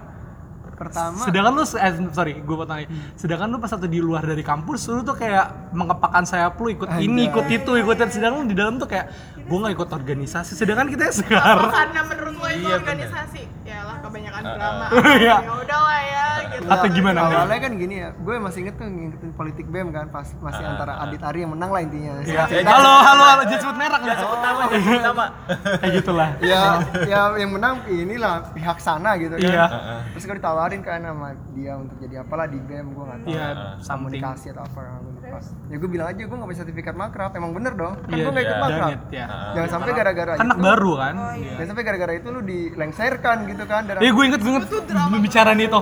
pertama
Sedangkan lu, eh, sorry, gue mau tanya. Sedangkan lu pas satu di luar dari kampus, lu tuh kayak mengepakkan sayap lu ikut ini, ikut itu, ikut itu. Sedangkan lu di dalam tuh kayak, gue nggak ikut organisasi. Sedangkan kita
Apa
sekarang.
karena menurut lo
Iya,
itu
bener.
organisasi? Yalah kebanyakan drama.
Iya.
Ya udahlah ya gitu.
Atau gimana?
awalnya kan gini ya gue masih inget tuh ngikutin politik bem kan pas masih antara Adit Ari yang menang lah intinya
Ya. Halo, halo, halo, judgment merah nggak?
Pertama.
Kayak gitulah.
ya ya yang menang inilah pihak sana gitu kan
Iya.
terus gue ditawarin kan sama dia untuk jadi apalah di game gue nggak tahu
Iya, something.
komunikasi atau apa gue lupa ya gue bilang aja gue nggak punya sertifikat makrab emang bener dong kan
Iya,
gue nggak ikut Nah, gitu.
iya.
makrab
Banget ya.
jangan sampai gara-gara
Kan Anak
itu
baru kan?
jangan sampai gara-gara itu lu dilengserkan gitu kan dari
Eh, gue inget, gue inget pembicaraan itu.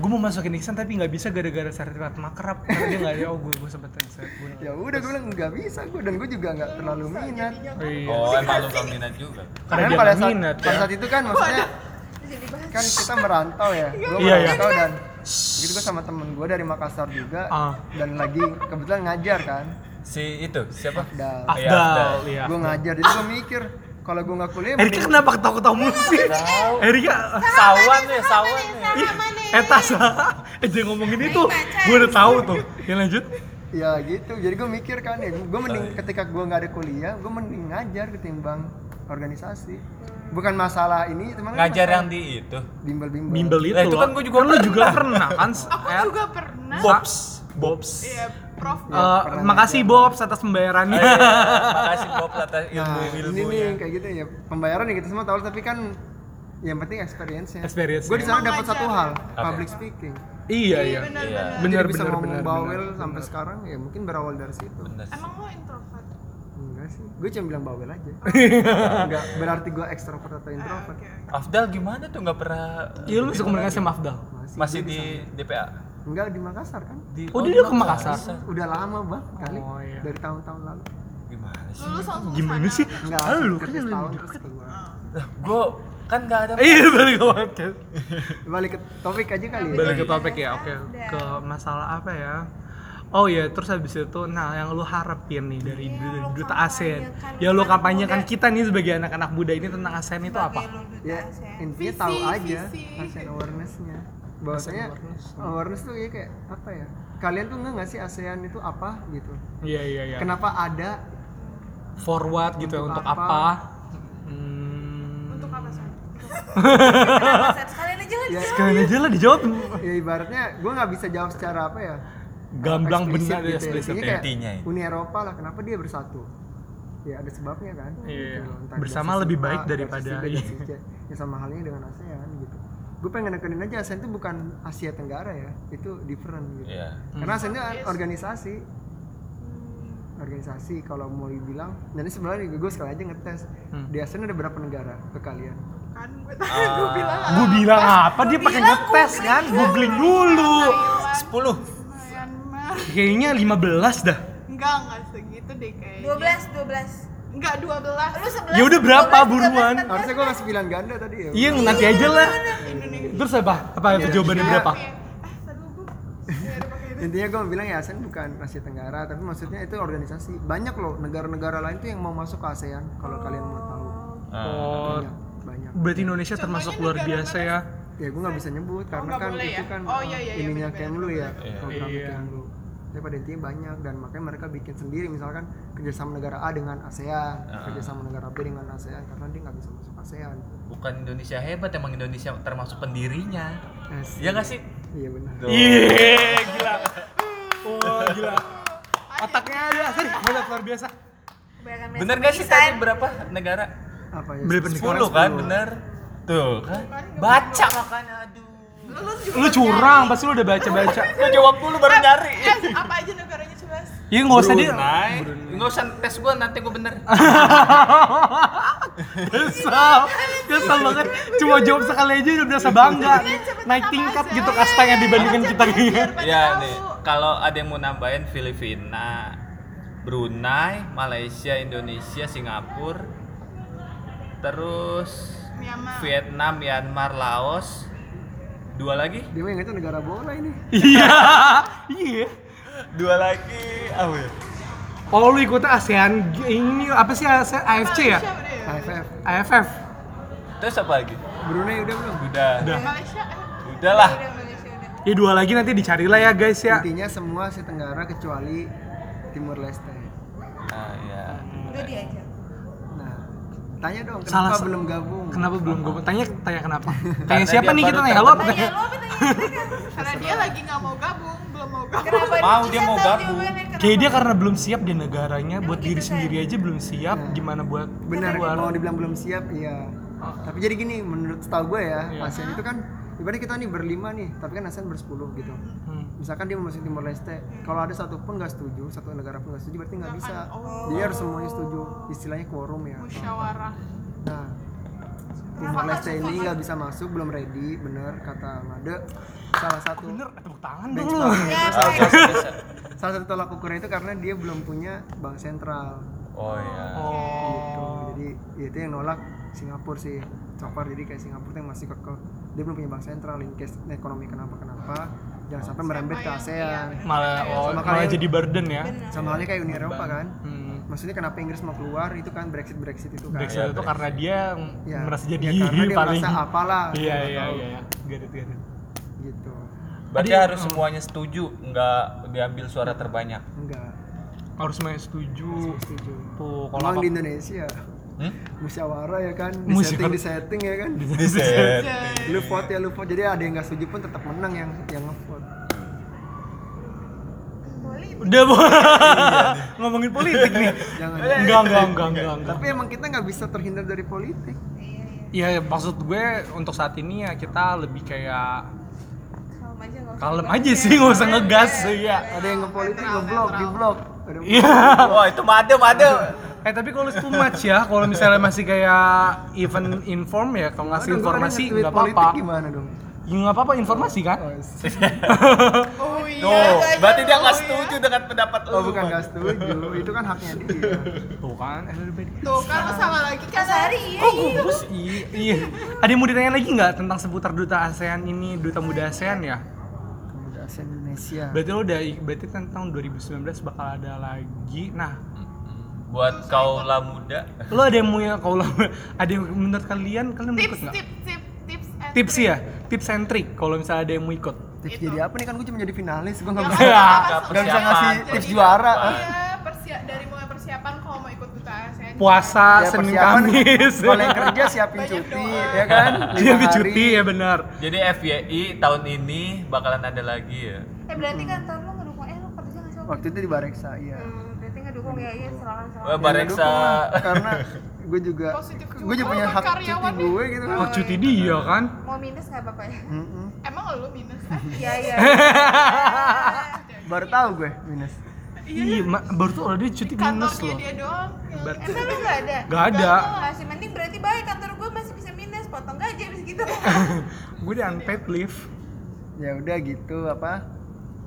Gue mau masukin Nixon tapi nggak bisa gara-gara sertifikat makrab. Karena dia nggak ada. Oh, gue gue sempet sempet- gue.
ya udah gue bilang nggak bisa gue dan gue juga nggak terlalu minat
Iya.
Oh, emang lu belum minat juga.
Karena
Karena
dia
pada
nggak
saat,
minat
pada
ya.
saat itu kan maksudnya
Jadi bahas
kan kita merantau ya gue
Iya,
merantau dan gitu gue sama temen gue dari Makassar juga
Ah.
dan lagi kebetulan ngajar kan
Si itu siapa?
dan
Iya,
Afdal, iya.
gue ngajar jadi gue mikir kalau gue nggak kuliah
Erika
mending-
kenapa ketawa-ketawa mulu sih? Erika
Sawan ya, sawan ya.
sama mana?
eh tas eh jangan ngomongin itu gue udah tahu tuh yang lanjut
ya gitu jadi gue mikir kan ya gue
Ah,
mending
iya.
ketika gue nggak ada kuliah gue mending ngajar ketimbang organisasi bukan masalah ini teman
Ngajar yang di itu.
bimbel bimbel
bimbel itu
Lah, itu
loh. Kan
kan gua juga
lu juga pernah kan
Aku juga pernah.
bobs bobs
Iya, Prof.
Eh, makasih Bob atas pembayarannya.
Makasih Bob atas ilmu
Nah, ini
ilmunya.
nih kayak gitu ya pembayaran ya kita semua tahu tapi kan yang penting experience-nya.
Experience-nya.
Gue di sana dapat satu hal,
Apa?
public speaking.
iya iya.
Benar-benar.
Benar
Jadi bisa
benar
ngomong
benar.
bawel
benar.
sampai sekarang ya mungkin berawal dari situ.
Bener sih.
Emang lo introvert?
Enggak sih, gue cuma bilang bawel aja. Enggak berarti gue ekstrovert atau introvert.
Ah, Oke.
Afdal gimana tuh nggak pernah
Iya lu masuk komunikasi sama Afdal.
masih di DPA?
Enggak di Makassar kan?
Di,
Oh, dia udah
di
ke Makassar?
Udah lama banget kali
Oh, iya.
dari tahun-tahun lalu.
Gimana sih?
Lulus langsung
Gimana
kesana.
sih?
Enggak,
Ah, lu
kerja
kan yang
setahun
lebih
terus keluar.
Lah, gua kan nggak ada.
Iya balik ke podcast.
Balik ke topik aja kali ya.
Balik ke topik ya, oke.
Iya.
Ke masalah apa ya? Oh iya, terus habis itu, nah yang lu harapin nih dari
Iya, lu
duta ASEAN,
kampanyekan
ya lu
anak
kampanyekan
muda.
kita nih sebagai anak-anak muda ini tentang ASEAN itu
Sebagai
apa?
lu duta
ya
ASEAN.
intinya
Iya, Visi,
tahu aja
visi.
ASEAN awareness-nya bahwasanya awareness tuh ya kayak apa ya kalian tuh nggak nggak sih ASEAN itu apa gitu
Iya iya iya.
kenapa ada
Forward gitu ya untuk
Untuk
apa?
apa?
Hmm.
Untuk apa sih?
Kenapa, Sat? sekalian aja
Ya,
lah dijawab.
Sekalian aja lah dijawab.
ya ibaratnya gue nggak bisa jawab secara apa ya
Gamblang
eksplisit
benar ya
gitu ya.
eksplisit
Intinya
ya.
kayak
Intinya itu.
Uni Eropa lah kenapa dia bersatu ya ada sebabnya kan
Iya.
Gitu, entah
Bersama
dari sisi
lebih baik
A, dari
daripada-
sisi B, dari sisi C. ya sama halnya dengan ASEAN gitu gue pengen nekenin aja ASEAN itu bukan Asia Tenggara ya itu different gitu
Iya.
karena asalnya organisasi organisasi kalau mau dibilang dan ini sebenarnya gue sekali aja ngetes
Hmm.
di ASEAN ada berapa negara ke kalian
Kan gue tadi gue bilang
Gue bilang apa? Dia pakai ngetes kan? Googling dulu.
Sepuluh.
Myanmar.
Kayaknya 15 dah.
Enggak, enggak segitu deh kayaknya.
12, 12.
Enggak 12.
Lu 11.
Ya udah berapa
12,
buruan?
13,
harusnya gue ngasih bilang ganda tadi ya
Iya nanti aja lah. Terus apa? Apa itu jawabannya berapa?
Eh, aduh gue. Ya, udah pakai itu.
intinya gue bilang ya ASEAN bukan Asia Tenggara tapi maksudnya itu organisasi banyak loh negara-negara lain tuh yang mau masuk ke ASEAN kalau kalian mau tahu
Oh,
banyak banyak
berarti Indonesia termasuk luar biasa ya.
ya gue nggak bisa nyebut karena
nggak
kan
boleh
itu
ya?
kan
Oh,
uh,
iya, iya, iya,
ininya
bener-bener,
Kemlu ya
Iya.
program
Iya.
Kemlu tapi pada intinya banyak dan makanya mereka bikin sendiri misalkan kerjasama negara A dengan ASEAN
Ah.
kerjasama negara B dengan ASEAN karena dia nggak bisa masuk ASEAN
Bukan Indonesia hebat, emang Indonesia termasuk pendirinya.
Asik.
Iya nggak sih?
iya benar
Iya, gila. Wah, Oh, gila. Otaknya ada, sorry, hebat luar biasa.
Kebanyakan
Bener nggak sih
desain.
tadi berapa negara?
apa ya
Beli pensi-
Sepuluh kan, bener. Tuh kan. Baca makanya aduh.
Lu curang, pasti lu udah baca-baca.
Lu jawab dulu baru nyari.
Eh, apa aja negaranya 11?
Iya nggak usah Ah. dia.
Brunei. Nggak usah tes gua nanti gua bener.
Kesal, kesal banget. Cuma jawab sekali aja udah berasa bangga. Naik tingkat gitu kastanya dibandingkan kita kayaknya.
Ya nih, kalau ada yang mau nambahin Filipina, Brunei, Malaysia, Indonesia, Singapura, terus
Myanmar.
Vietnam, Myanmar, Laos, dua lagi,
dia mah ingatnya negara bola ini
Iya, iya.
dua lagi, apa ya?
Oh lu ikutnya ASEAN ini apa sih ASEAN, AFC ya?
Malaysia udah ya?
AFF
AFF.
Terus apa lagi?
Brunei udah belum
Udah, udah,
Malaysia. eh,
lah.
Udah, Malaysia, udah.
Ya dua lagi nanti dicari lah ya guys ya.
intinya semua Asia Tenggara kecuali Timur Leste
Nah, ya.
Udah diajak.
nah tanya dong kenapa
Salah se-
belum gabung
Kenapa belum gue tanya tanya kenapa? Tanya
Karena
siapa
dia
nih
baru
kita tanya lo apa
Tanya
tanya?
lu apa tanya mereka?
Karena dia lagi nggak mau gabung, belum mau gabung.
Kenapa
Mau,
Bisa
dia mau
tahu
gabung.
jawabannya, kenapa?
Kayak dia karena belum siap di negaranya buat
gitu
diri
kan?
sendiri aja belum siap
Iya.
gimana buat
benar
keluar.
mau dibilang belum siap iya tapi jadi gini menurut setahu gue ya
Iya.
ASEAN itu kan ibaratnya kita nih berlima nih tapi kan ASEAN bersepuluh gitu
Hmm.
misalkan dia mau masuk Timor Leste kalau ada satu pun nggak setuju satu negara pun nggak setuju berarti nggak bisa jadi harus semuanya setuju istilahnya quorum ya
Musyawarah.
nah Timor Leste ini nggak bisa masuk belum ready bener kata Made salah satu
Bener, Iya, tepuk tangan dong lu.
benchmark
Ya,
Oh,
Pak.
biasa, biasa.
salah satu tolak ukurnya itu karena dia belum punya bank sentral
Oh ya.
Oh.
gitu. jadi ya itu yang nolak Singapura sih so far. jadi kayak Singapura tuh yang masih kekeh dia belum punya bank sentral in case ekonomi kenapa kenapa jangan sampai merembet ke ASEAN
Malah, oh,
Gitu. Sama
malah
kalian-
jadi burden ya.
sama halnya kayak Uni Eropa kan
Hmm.
maksudnya kenapa Inggris mau keluar itu kan Brexit Brexit itu kan
Brexit itu karena dia
Ya,
merasa jadi
ya karena dia
paling.
merasa apalah
Iya iya iya. Garit garit.
gitu
Berarti harus semuanya setuju, nggak diambil suara terbanyak.
enggak
Harus main setuju.
setuju
Tuh kalau
Emang
apa
di Indonesia
Hmm?
musyawarah ya kan di
Musyawarah.
setting di setting ya kan lu vote ya lu vote jadi ada yang nggak setuju pun tetap menang yang yang vote
Boleh
Udah Bu.
Iya.
ngomongin politik nih.
Jangan.
Eh,
Enggak, enggak, enggak, enggak, enggak.
Tapi emang kita nggak bisa terhindar dari politik.
Ya maksud gue untuk saat ini ya kita lebih kayak
Kalem aja nggak usah
kalem
banyak.
aja sih nggak usah ngegas ya.
Ada yang ngepolitik, ngeblok, diblok. Ada
Iya.
Wah itu madem, madem.
Eh tapi kalau itu too much ya, kalau misalnya masih kayak even inform ya, kalau
Aduh,
ngasih
gua tadi
informasi
nge-tweet
nggak
politik
apa-apa.
gimana dong?
Ya nggak apa-apa informasi kan?
Eh, Oh iya.
Tuh,
gajah
berarti dia nggak
tahu ya.
setuju dengan pendapat lu.
Oh bukan
Bang.
nggak setuju, itu kan haknya dia.
Tuh kan, everybody.
Tuh kan lu sama lagi kan
Kasari iya.
Oh, bagus. Iya, iya. Ada yang mau ditanya lagi nggak tentang seputar duta ASEAN ini, duta muda ASEAN ya?
Pemuda ASEAN Indonesia.
Berarti lo udah berarti kan tentang 2019 bakal ada lagi. Nah,
Buat kaulah muda.
lo ada yang mau ya kalau lo- ada yang menurut kalian kalian mau ikut
tips
nggak?
tips tips tips and
Tips
trick.
ya, tips and trick kalau misalnya ada yang mau ikut.
Tips
Itu.
jadi apa nih kan gue cuma jadi finalis, gue nggak
Ya,
bisa
kan,
Nggak
apa-apa,
nggak bisa ngasih
persiapan.
tips
Jadi,
juara. ah.
Iya, persia- dari mulai persiapan kalau mau ikut duta ASEAN.
Puasa
Ya,
Senin
persiapan,
Kamis.
Kalau yang kerja siapin
Banyak
cuti,
doa.
ya kan?
Dia
Lima
ambil
hari.
cuti ya benar.
Jadi FYI tahun ini bakalan ada lagi ya.
Eh berarti kantor lu ngedukung, eh lu kerja nggak sih?
Waktu itu di Bareksa, iya.
Hmm, berarti ngedukung ya, iya silakan silakan.
Wah,
Ya,
Bareksa.
dukung lah, karena gue juga
Positif
gue juga
juga
punya
buat
hak cuti
karyawan nih.
gue gitu kan.
Oh, cuti dia kan.
Mau minus nggak apa-apa ya?
Mm-mm.
Emang lu minus? Eh,
Iya iya.
Baru tahu gue minus.
Iya, ma- baru tuh dia cuti minus
kantornya
loh.
dia doang.
Berarti-
Emang lu nggak ada?
Gak ada.
Masih penting berarti baik kantor gue masih bisa minus, potong gaji habis gitu.
Gue di unpaid leave.
Ya udah gitu apa?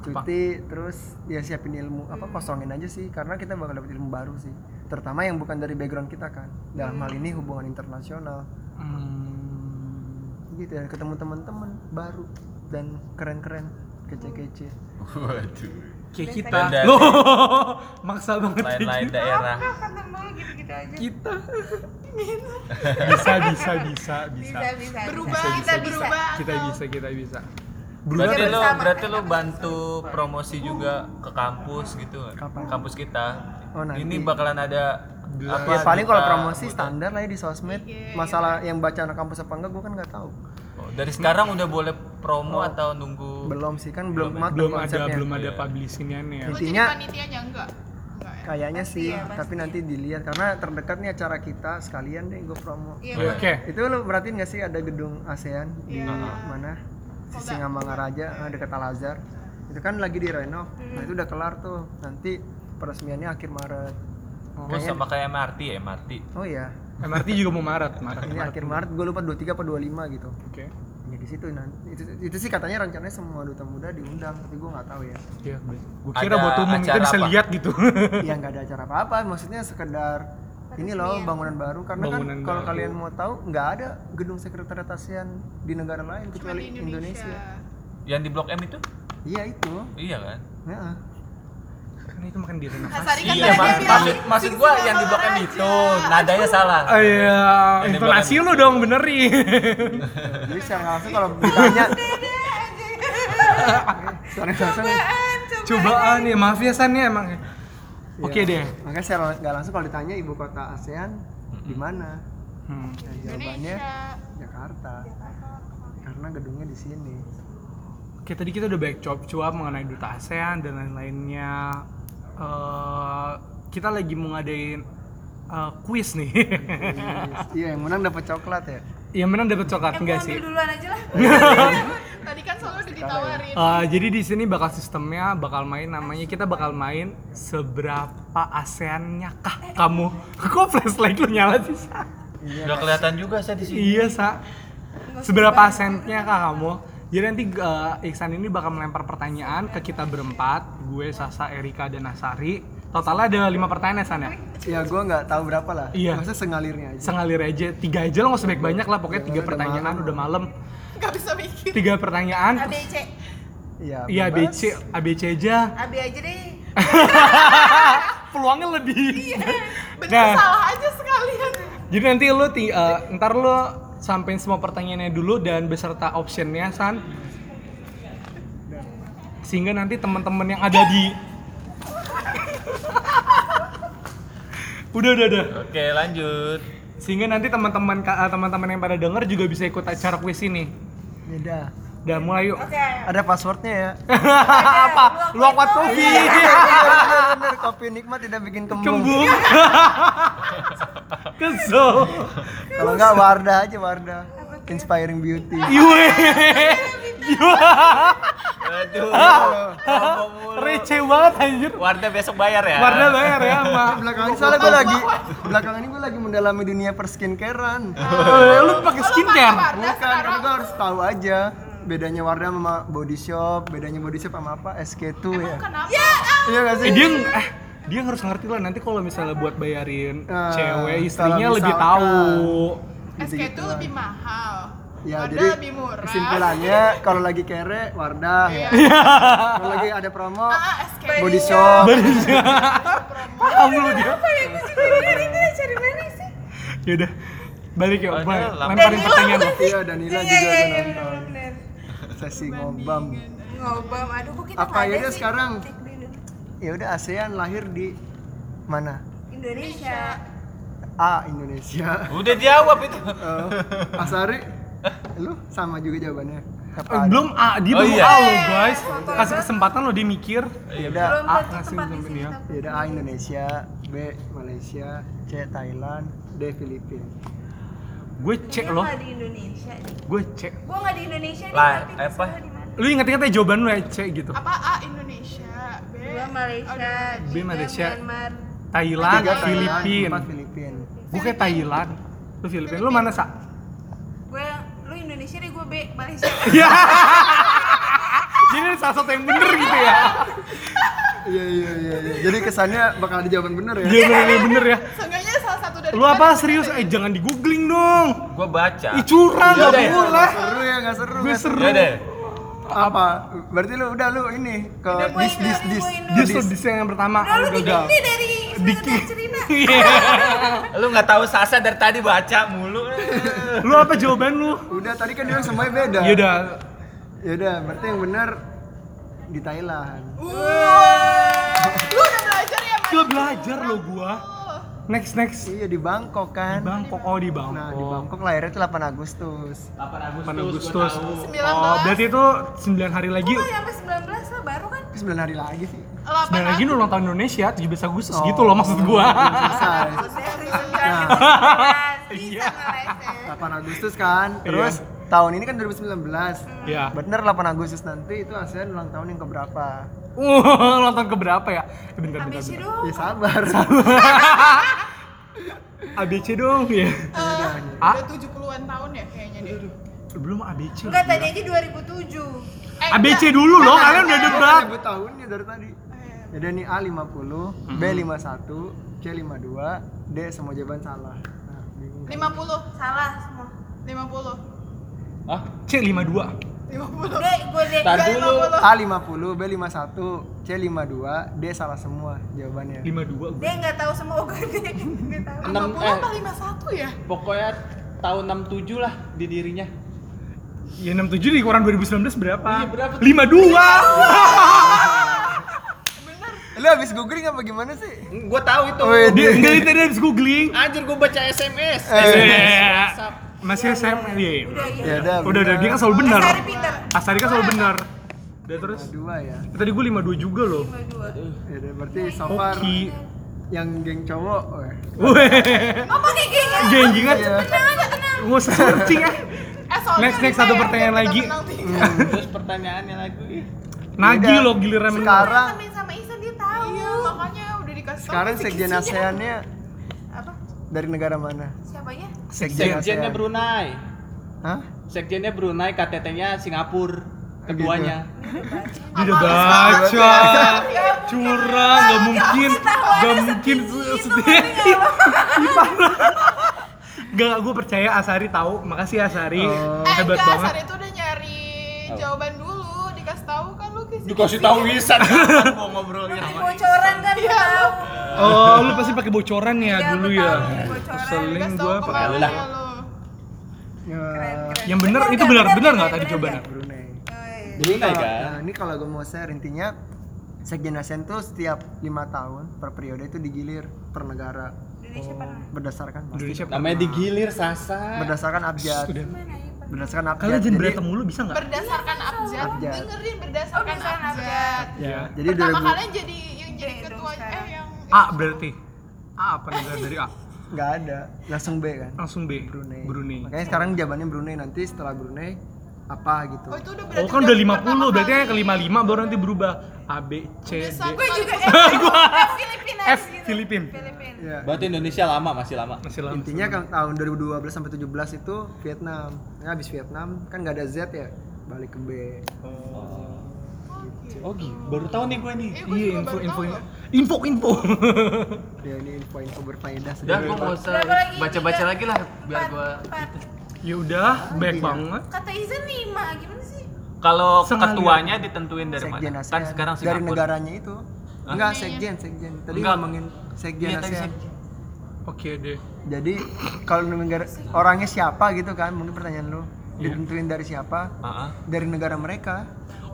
Cuti terus ya siapin ilmu apa kosongin aja sih karena kita bakal dapet ilmu baru sih. Terutama yang bukan dari background kita kan. Dalam hal ini hubungan internasional.
Hmm.
Gitu ya ketemu teman-teman baru dan keren-keren kece-kece.
Hmm.
Waduh.
Kayak kita.
Dan- dan-
Loh, maksa banget kayak
Lain-lain
gitu.
daerah.
Kantor lu gitu-gitu aja.
Kita. bisa, bisa, bisa, bisa.
Bisa bisa.
Berubah,
bisa.
kita berubah.
Kita bisa, kita bisa.
Berarti
Kerja
lo
bersama.
berarti lo bantu promosi juga ke kampus gitu.
Kapan?
Kampus kita.
Oh, nanti.
Ini bakalan ada apa?
ya paling kalau
duta gitu.
promosi
muda.
standar lah ya di sosmed. Masalah yang baca anak kampus apa enggak gue kan nggak tahu.
Oh, dari sekarang udah boleh promo atau
Oh.
nunggu?
Belum sih kan belum matang
Oh. Belum ada,
konsepnya.
belum
Iya.
ada publishing-annya ya.
Lu jadi
Intinya-
panitianya enggak? Enggak ya?
Kayaknya sih,
ya,
tapi nanti dilihat karena terdekat nih acara kita sekalian deh gue promo.
Iya,
Oke.
Itu lo merhatiin gak sih ada gedung ASEAN di
Iya.
mana? Sisi Ngamangaraja eh, dekat Al Azhar. Itu kan lagi direnov. Nah, itu udah kelar tuh. Nanti peresmiannya akhir Maret.
Oh, sama kayak MRT ya, MRT.
Oh iya,
MRT juga mau Maret, Maret.
ini akhir Maret gue lupa 23 apa 25 gitu.
Oke.
Ya di situ nah, itu, itu sih katanya rencananya semua duta muda diundang, tapi gue nggak tahu ya.
Iya, gue kira
Ada
buat umum kita
acara
bisa
apa?
lihat gitu.
Yang Ya, nggak ada acara apa-apa, maksudnya sekedar ini
ya?
loh bangunan baru karena
Bangunan
kan kalau
baru.
kalian mau tahu nggak ada gedung sekretariat ASEAN di negara lain
Cuma di
kecuali
Indonesia.
Indonesia.
Yang di Blok M itu?
Iya itu.
Iya kan?
Heeh.
Kan itu makan direnovasi.
Kasari kan
iya,
tadi dia
mak-
bilang,
maksud, maksud gua yang di Blok M itu nadanya salah.
Oh iya,
Ini
intonasi
bukan-
lu dong benerin.
Jadi secara langsung kalau ditanya secara langsung
Cobaan ya, maaf ya San ya emang. Oke deh.
Iya. makanya secara nggak langsung kalau ditanya ibu kota ASEAN di mana?
Hmm.
Nah, jawabannya
Indonesia.
Jakarta. Karena gedungnya di sini.
Oke, tadi kita udah banyak cuap-cuap mengenai duta ASEAN dan lain-lainnya. Eh, kita lagi mau ngadain eh, quiz nih.
Iya, yang menang dapat coklat ya.
yang menang dapat coklat enggak sih?
Ambil duluan aja lah.
Tadi kan selalu udah ditawarin.
Eh, jadi di sini bakal sistemnya bakal main namanya kita bakal main seberapa ASEAN-nya kah kamu? Kok flashlight lu nyala sih? Sa?
iya.
Udah kelihatan juga saya di sini.
Iya, Sa. Seberapa asennya kah kamu? Jadi nanti eh, Iksan ini bakal melempar pertanyaan ke kita berempat, gue, Sasa, Erika, dan Nasari. Totalnya ada lima pertanyaan ya, San ya?
Ya gua nggak tahu berapa lah.
Iya.
Masa sengalirnya aja.
Sengalir aja, tiga aja lo gak usah banyak-banyak lah, pokoknya tiga
Udah
pertanyaan
malam.
udah malam.
Enggak bisa mikir.
Tiga pertanyaan,
ABC.
Iya.
iya
bebas.
ABC, ABC aja.
AB aja deh.
Peluangnya lebih.
Bener
Nah.
salah aja sekalian.
Jadi nanti lu ti- eh, ntar lu sampein semua pertanyaannya dulu dan beserta optionnya San. Sehingga nanti teman-teman yang ada di Udah, udah, udah.
Oke, lanjut.
Sehingga nanti teman-teman ka- eh, teman-teman yang pada denger juga bisa ikut acara kuis ini.
Beda.
Udah mulai yuk.
Oke.
Ada passwordnya ya. Iya,
Apa? Luak
Luak
Watobi.
Bener-bener kopi nikmat tidak bikin kembung.
Kembung. Kesel.
Kalau enggak Wardah aja Wardah. Inspiring beauty.
Iwe.
Aduh,
Ah.
ngomong mulu.
Receh banget anjir.
Wardah besok bayar ya.
Warna bayar ya sama.
Belakangan ini soalnya gue lagi belakangan ini gue lagi mendalami dunia perskincarean.
Eh, Lu pakai skincare.
Bukan, karena gue harus tahu aja bedanya Wardah sama body shop, bedanya body shop sama apa? SK2 ya.
Kenapa?
Iya gak sih?
Eh, dia ng- eh, dia harus ngerti lah nanti kalau misalnya buat bayarin
Ah,
cewek
kalau
istrinya lebih
misalkan.
tahu.
SK itu
Gitu-gituan.
lebih mahal.
Ya,
Wardah
jadi
lebih murah.
kesimpulannya kalau lagi kere Wardah ya. kalau lagi ada promo
Ah, SK
body shop.
Paham lu dia.
Apa ya? Gue juga dari itu cari mana sih?
Ya udah. Balik ya,
Ada
Bang.
lah.
Lemparin pertanyaan.
bukan sih?
Iya, Danila
Iya,
juga
iya,
udah
iya,
nonton.
bener-bener.
Sesi ngobam.
Ngobam, aduh kok kita
Apa
nggak ada
akhirnya
sih
sekarang?
titik di Indo-
Ya udah ASEAN lahir di mana?
Indonesia.
A Indonesia.
Udah jawab itu.
Eh, Asari, lu sama juga jawabannya. Apa
Eh,
ada?
Belum A, dia
Oh,
belum
iya.
A lo guys. Kasih kesempatan lo dia mikir.
Ya
Iya.
udah,
Belum
ah,
tentu
ngasih
tempat di
belum
sini.
ya.
ya udah A Indonesia, B Malaysia, C Thailand, D Filipina.
Gue cek
Kayaknya
lo,
nggak di Indonesia deh.
gue cek.
Gue nggak di Indonesia nih,
Lah,
tapi
apa?
gua di mana?
Lu inget-inget aja jawaban lu ya, cek gitu.
Apa A Indonesia, B
Dua Malaysia,
B,
tiga
Malaysia.
Myanmar.
Thailand,
Tiga Thailand,
Filipina.
empat Filipina.
Gue kayak Thailand. Lu Filipina, lu mana sa?
Gue, lu Indonesia deh, gue B Malaysia.
Ya. Jadi ada salah satu yang bener gitu ya.
Iya iya iya. iya. Jadi kesannya bakal ada jawaban bener ya.
Iya bener, bener bener ya.
Seenggaknya salah satu dari
Lu apa serius? Eh jangan di googling dong.
Gua baca.
Ih curang
Iya
gak
deh.
boleh.
Seru ya nggak seru.
Gue
nggak
seru.
Ya deh.
Apa? Berarti lu udah lu ini ke
Udah mulai
dis dis
dari
dis.
mulai
Dia selalu di yang pertama.
Udah,
Lu
lu
gagal.
bikin ini dari
Diki.
Sultan Cerina.
Iya.
Lu nggak tahu Sasa dari tadi baca mulu.
Lu apa jawaban lu?
Udah tadi kan dia semuanya
Iya.
beda.
Ya udah.
Ya udah, berarti yang bener di Thailand.
Lu udah belajar ya, Mas?
Gila belajar lo gua. Next next.
Iya di Bangkok kan.
Bangkok oh di Bangkok.
Nah, di Bangkok lahirnya tuh 8 Agustus.
8 Agustus. Oh,
19.
berarti itu 9 hari lagi.
Gue sampai 19 lah, baru kan.
9 hari lagi sih.
8
9 lagi
Agustus.
ulang tahun Indonesia 17 Agustus
Oh.
gitu loh maksud gua.
Selesai.
Dari
Iya.
19 bisa ngelesin.
8 Agustus kan.
Iya.
Terus tahun ini kan 2019.
Ya.
Bener 8 Agustus nanti itu ASEAN ulang tahun yang keberapa?
Uh, nonton ke berapa ya? Eh, Bentar, bentar,
Habis
bentar.
itu
Ya sabar.
ABC dong ya.
Eh,
Ah.
udah 70-an tahun ya kayaknya deh.
Belum ABC.
Enggak, tadi aja 2007
Eh,
ABC dulu loh, Oh, kalian udah debat.
Ibu Iya, tahunnya dari tadi. Jadi ini A 50,
Hmm.
B 51, C 52, D semua jawaban salah. Nah, bingung.
50,
salah semua.
50.
Hah?
C52.
50.
D, gue D.
Tar dulu.
A 50, B 51, C 52, D salah semua jawabannya.
52
D nggak tahu semua gue D. Nggak tahu.
50 apa 51 ya?
pokoknya tahun 67 lah didirinya
Ya 67 dikurang 2019 berapa?
Iya, berapa tuh?
52.
Eh, Lu habis googling apa gimana sih? Oh, iya,
gue tahu itu
Wih,
Dia enggak dia tadi habis googling.
anjir gue baca SMS
Eh, Masih SMA dia. ya?
Udah ya.
Ya udah.
Udah udah dia kan selalu benar.
Asari pinter.
Asari kan selalu benar. Udah terus.
dua ya.
Tadi gue 52 juga loh.
Lima dua.
Ya udah, berarti so far
Oki.
yang geng cowok weh.
Weh.
Apa nih geng?
Genggingan.
Iya.
Tenang aja tenang.
Nggak usah searching ya.
Eh, soalnya
Next, next,
kita
satu
yang
pertanyaan
kita
lagi.
menang tiga.
terus pertanyaannya lagi
Nagi
Udah.
loh giliran menang.
Sekarang
Temen sama Isan dia tahu.
Iya, makanya udah dikasih tau
sekarang
kisi-kisinya.
sekjen ASEAN-nya
Apa?
Oh,
dari negara mana?
Siapanya?
Iya,
sekjennya Brunei
Hah?
sekjennya Brunei KTT-nya Singapura
Gitu.
Gitu.
ketuanya
Dia udah baca. Curang, nggak mungkin. nggak mungkin. Setia. Gak, gue percaya Asari tahu. Makasih Asari.
Eh,
Hebat
enggak,
banget.
saat itu udah nyari jawaban dulu, dikasih tahu kan lu kisi.
dikasih tahu
Iya,
Wisan
Gua ngobrolin
Ini
sama
bocoran kan gue tahu.
Oh, lu pasti pakai bocoran ya
Iya,
dulu
betul,
ya.
bocoran.
Seling
Dikasih tahu
gue pakai.
kemana
Lah.
ya lu.
Ya,
Yang bener itu
nggak?
benar benar nggak tadi
bener
jawabannya?
Brunei.
nggak?
Jadi
Brunei
kalau-
kan?
nah, ini kalau gue mau share intinya sekjen ASEAN tuh setiap lima tahun per periode itu digilir per negara
Indonesia pernah.
berdasarkan pasti.
Indonesia
namanya digilir Sasa
berdasarkan abjad.
udah.
Mana ya, Pak?
berdasarkan abjad.
Kalian jangan
Jadi- ya,
berantem mulu bisa nggak?
berdasarkan abjad,
Abjad.
dengerin
Oh,
berdasarkan
misalkan
abjad.
abjad.
Ya. Jadi
Pertama
2000
kalian jadi yang jadi
Oke, dong
ketua eh
sekarang.
yang
A berarti. A apa negara dari
Iya.
A?
nggak ada, langsung B kan.
Langsung B.
Brunei.
Oh. Brunei.
Makanya sekarang jawabannya Brunei nanti setelah Brunei apa gitu.
Oh itu udah berarti
Oh kan udah
pertama
50, berarti
kali.
yang ke 55 baru nanti berubah A, B, C,
Udah
D,
sama.
Gue juga eh, gua Filipina gitu.
F, Filipin.
Filipin.
Ya.
Berarti Indonesia lama masih lama.
Masih lama
Intinya kan tahun 2012 sampai 17 itu Vietnam. Nah, habis Vietnam kan nggak ada Z ya, balik ke B.
Oh gitu. Baru tahu nih gue nih.
Eh, gua
Iya
juga
info
baru
info info
tahu loh.
info info.
Ya ini info-info berfaedah
Udah gue
sedikit.
nggak usah
Berapa lagi?
baca-baca
Tiga,
lagi lah biar
empat,
gue
empat.
ya udah baik banget.
Kata Izan lima, gimana sih?
kalau
Sengaja.
ketuanya ditentuin dari
Sekjen
mana?
ASEAN.
Kan sekarang
dari
Singapura.
negaranya itu. Enggak, sekjen, sekjen. Tadi
Enggak.
ngomongin sekjen
Iya, tadi
ASEAN.
sekjen.
Oke deh.
Jadi kalau negara orangnya siapa gitu kan, mungkin pertanyaan lu
Iya.
ditentuin dari siapa?
Heeh.
Dari negara mereka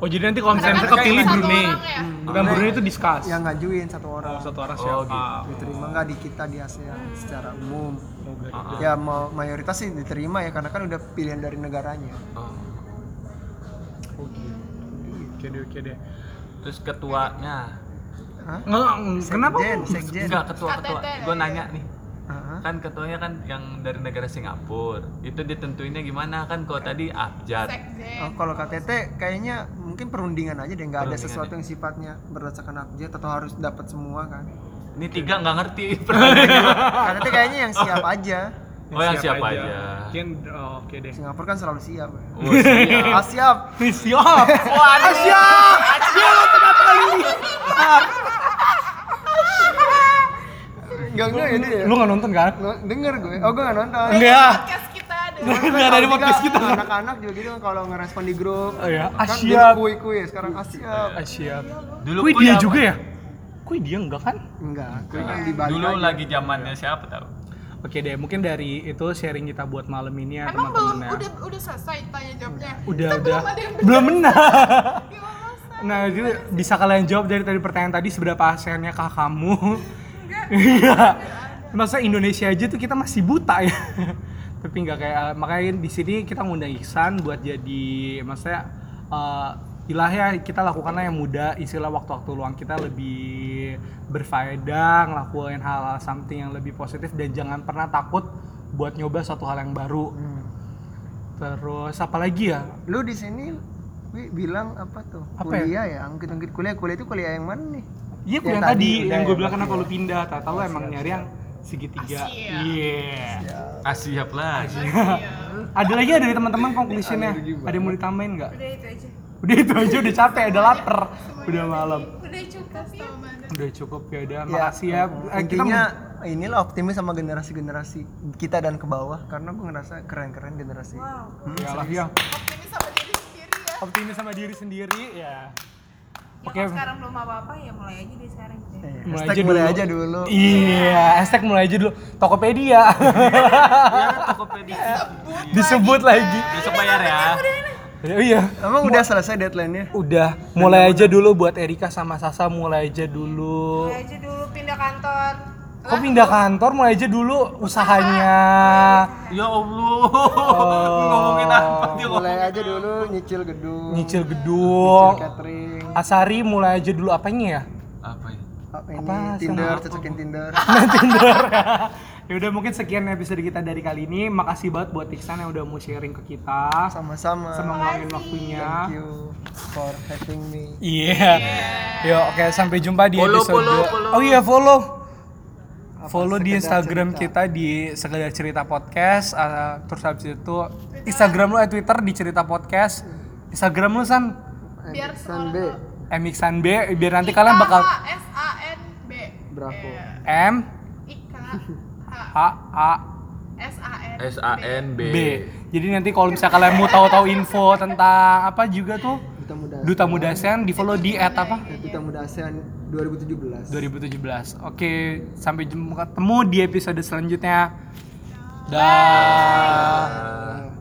Oh jadi nanti kalau misalnya
Mereka
mereka pilih
satu
Brunei,
kan
Hmm.
orang ya?
bukan Brunei itu discuss.
yang ngajuin satu orang.
Oh, satu orang
Hmm, Oh,
siapa?
gitu.
diterima nggak di kita di ASEAN secara umum
Oh, gitu.
Ah.
ya mau mayoritas sih diterima ya karena kan udah pilihan dari negaranya
Oh.
Oh gitu. Oke deh oke deh.
Terus ketuanya.
Hah?
Nggak, kenapa?
sekjen sekjen
Enggak
ya?
ketua-ketua.
KTT.
Gue nanya nih.
Hah?
Kan ketuanya kan yang dari negara Singapura. Itu ditentuinnya gimana? Kan kalau tadi abjad.
Sekjen.
Oh, kalau KTT kayaknya mungkin perundingan aja deh nggak ada
Perundingan
sesuatu yang sifatnya berdasarkan abjad atau harus dapat semua kan
Ini tiga nggak ngerti. pertanyaan gua.
KTT kayaknya yang siap aja
Oh yang siapa aja?
Mungkin oh, oke deh.
Singapura kan selalu siap
Oh, siap.
ah siap Ah,
Nih, siap.
nggak nggak ini ya
Lu nggak nonton kan?
Nggak, denger gue oh gue nggak nonton
Enggak.
Podcast kita ada.
Enggak dari podcast kita.
anak-anak juga gitu kan kalau ngerespon di grup
Oh ya, ah,
kan
siap.
dulu kuy-kuy ya, sekarang ah siap
Ah, siap.
Dulu
Kui
gua
dia
yang-
juga ya? Kui dia enggak kan?
Enggak, gue kan di Bali
Dulu
aja.
lagi zamannya siapa tahu?
Oke deh, mungkin dari itu sharing kita buat malam ini ya
Emang belum
teman-teman ya.
udah udah selesai tanya jawabnya.
udah udah
Kita Belum ada yang ber-
belum benar.
Gimana masa?
Nah, jadi bisa kalian jawab dari tadi pertanyaan tadi seberapa ASEAN-nya kah kamu? Iya. Masa Indonesia aja tuh kita masih buta ya. Tapi nggak kayak eh, makanya di sini kita ngundang Ihsan buat jadi maksudnya eh ilah ya kita lakukanlah yang muda, istilah waktu-waktu luang kita lebih berfaedah, ngelakuin hal, hal something yang lebih positif dan jangan pernah takut buat nyoba suatu hal yang baru.
Hmm.
Terus apa lagi ya?
Lu di sini Wi, bilang apa tuh?
Apa ya?
kuliah ya? Angkit-angkit kuliah. Kuliah itu kuliah yang mana nih? Yang
Iya kuliah
tadi
tadi,
udah
yang
ya,
gue bilang kenapa
berarti
lu pindah, tak tahu emang nyari yang segitiga.
ya.
Asia.
Iya.
Ah siap lah.
Ada lagi ada dari teman-teman conclusionnya? Ada yang mau ditambahin nggak?
Udah itu aja.
Udah itu aja udah capek, udah lapar, udah malam.
Udah cukup ya.
Udah cukup ya udah. Makasih ya. Eh, kita
Intinya inilah optimis sama generasi-generasi kita dan ke bawah karena gue ngerasa keren-keren generasi.
Wow.
mau- Yalah, ya.
Optimis sama diri sendiri ya.
Optimis sama diri sendiri ya.
Ya
Oke.
kalau sekarang belum apa-apa ya mulai aja deh sekarang gitu ya.
Iya,
Mulai
Hashtag
aja
mulai
dulu.
aja dulu.
Iya, hashtag mulai aja dulu. Tokopedia.
kan Tokopedia.
Disebut lagi.
Besok bayar ya.
Oh iya.
Emang udah selesai deadline-nya?
Udah, mulai aja dulu buat Erika sama Sasa mulai aja dulu.
Mulai aja dulu pindah kantor.
Kok pindah kantor mulai aja dulu usahanya.
Ya Allah.
Oh.
Ngomongin apa dia
Mulai aja dulu nyicil gedung,
Iya. Nyicil
nyicil
gedung.
catering,
Asari mulai aja dulu apanya ya?
Apa ini?
apa ini
Apa, Nah.
Tinder,
sama-
cocokin Tinder.
ya udah mungkin sekian episode kita dari kali ini. Makasih banget buat Iksan yang udah mau sharing ke kita. Sama
Sama-sama.
ngeluangin waktunya.
Thank you for having me.
Iya. Yo, oke sampai jumpa di
Follow,
episode.
follow,
dua.
follow.
Oh iya, follow. Follow di
Sekedar
Instagram
Cerita.
kita di sekedar cerita podcast eh, terus habis itu Instagram lu eh Twitter di cerita podcast. Instagram lu San
Biar
San
seorang
B,
Mixan B biar nanti kalian bakal
S A N B. Eh,
Bravo.
M
Ika
H A
S A N
S A N B.
B. Jadi nanti kalau misalnya kalian mau tahu-tahu info tentang apa juga tuh
Duta Muda
Duta Muda ASEAN di follow di at apa?
Duta Muda ASEAN 2017.
2017. Oke, sampai jumpa ketemu di episode selanjutnya. Dah.
Nah,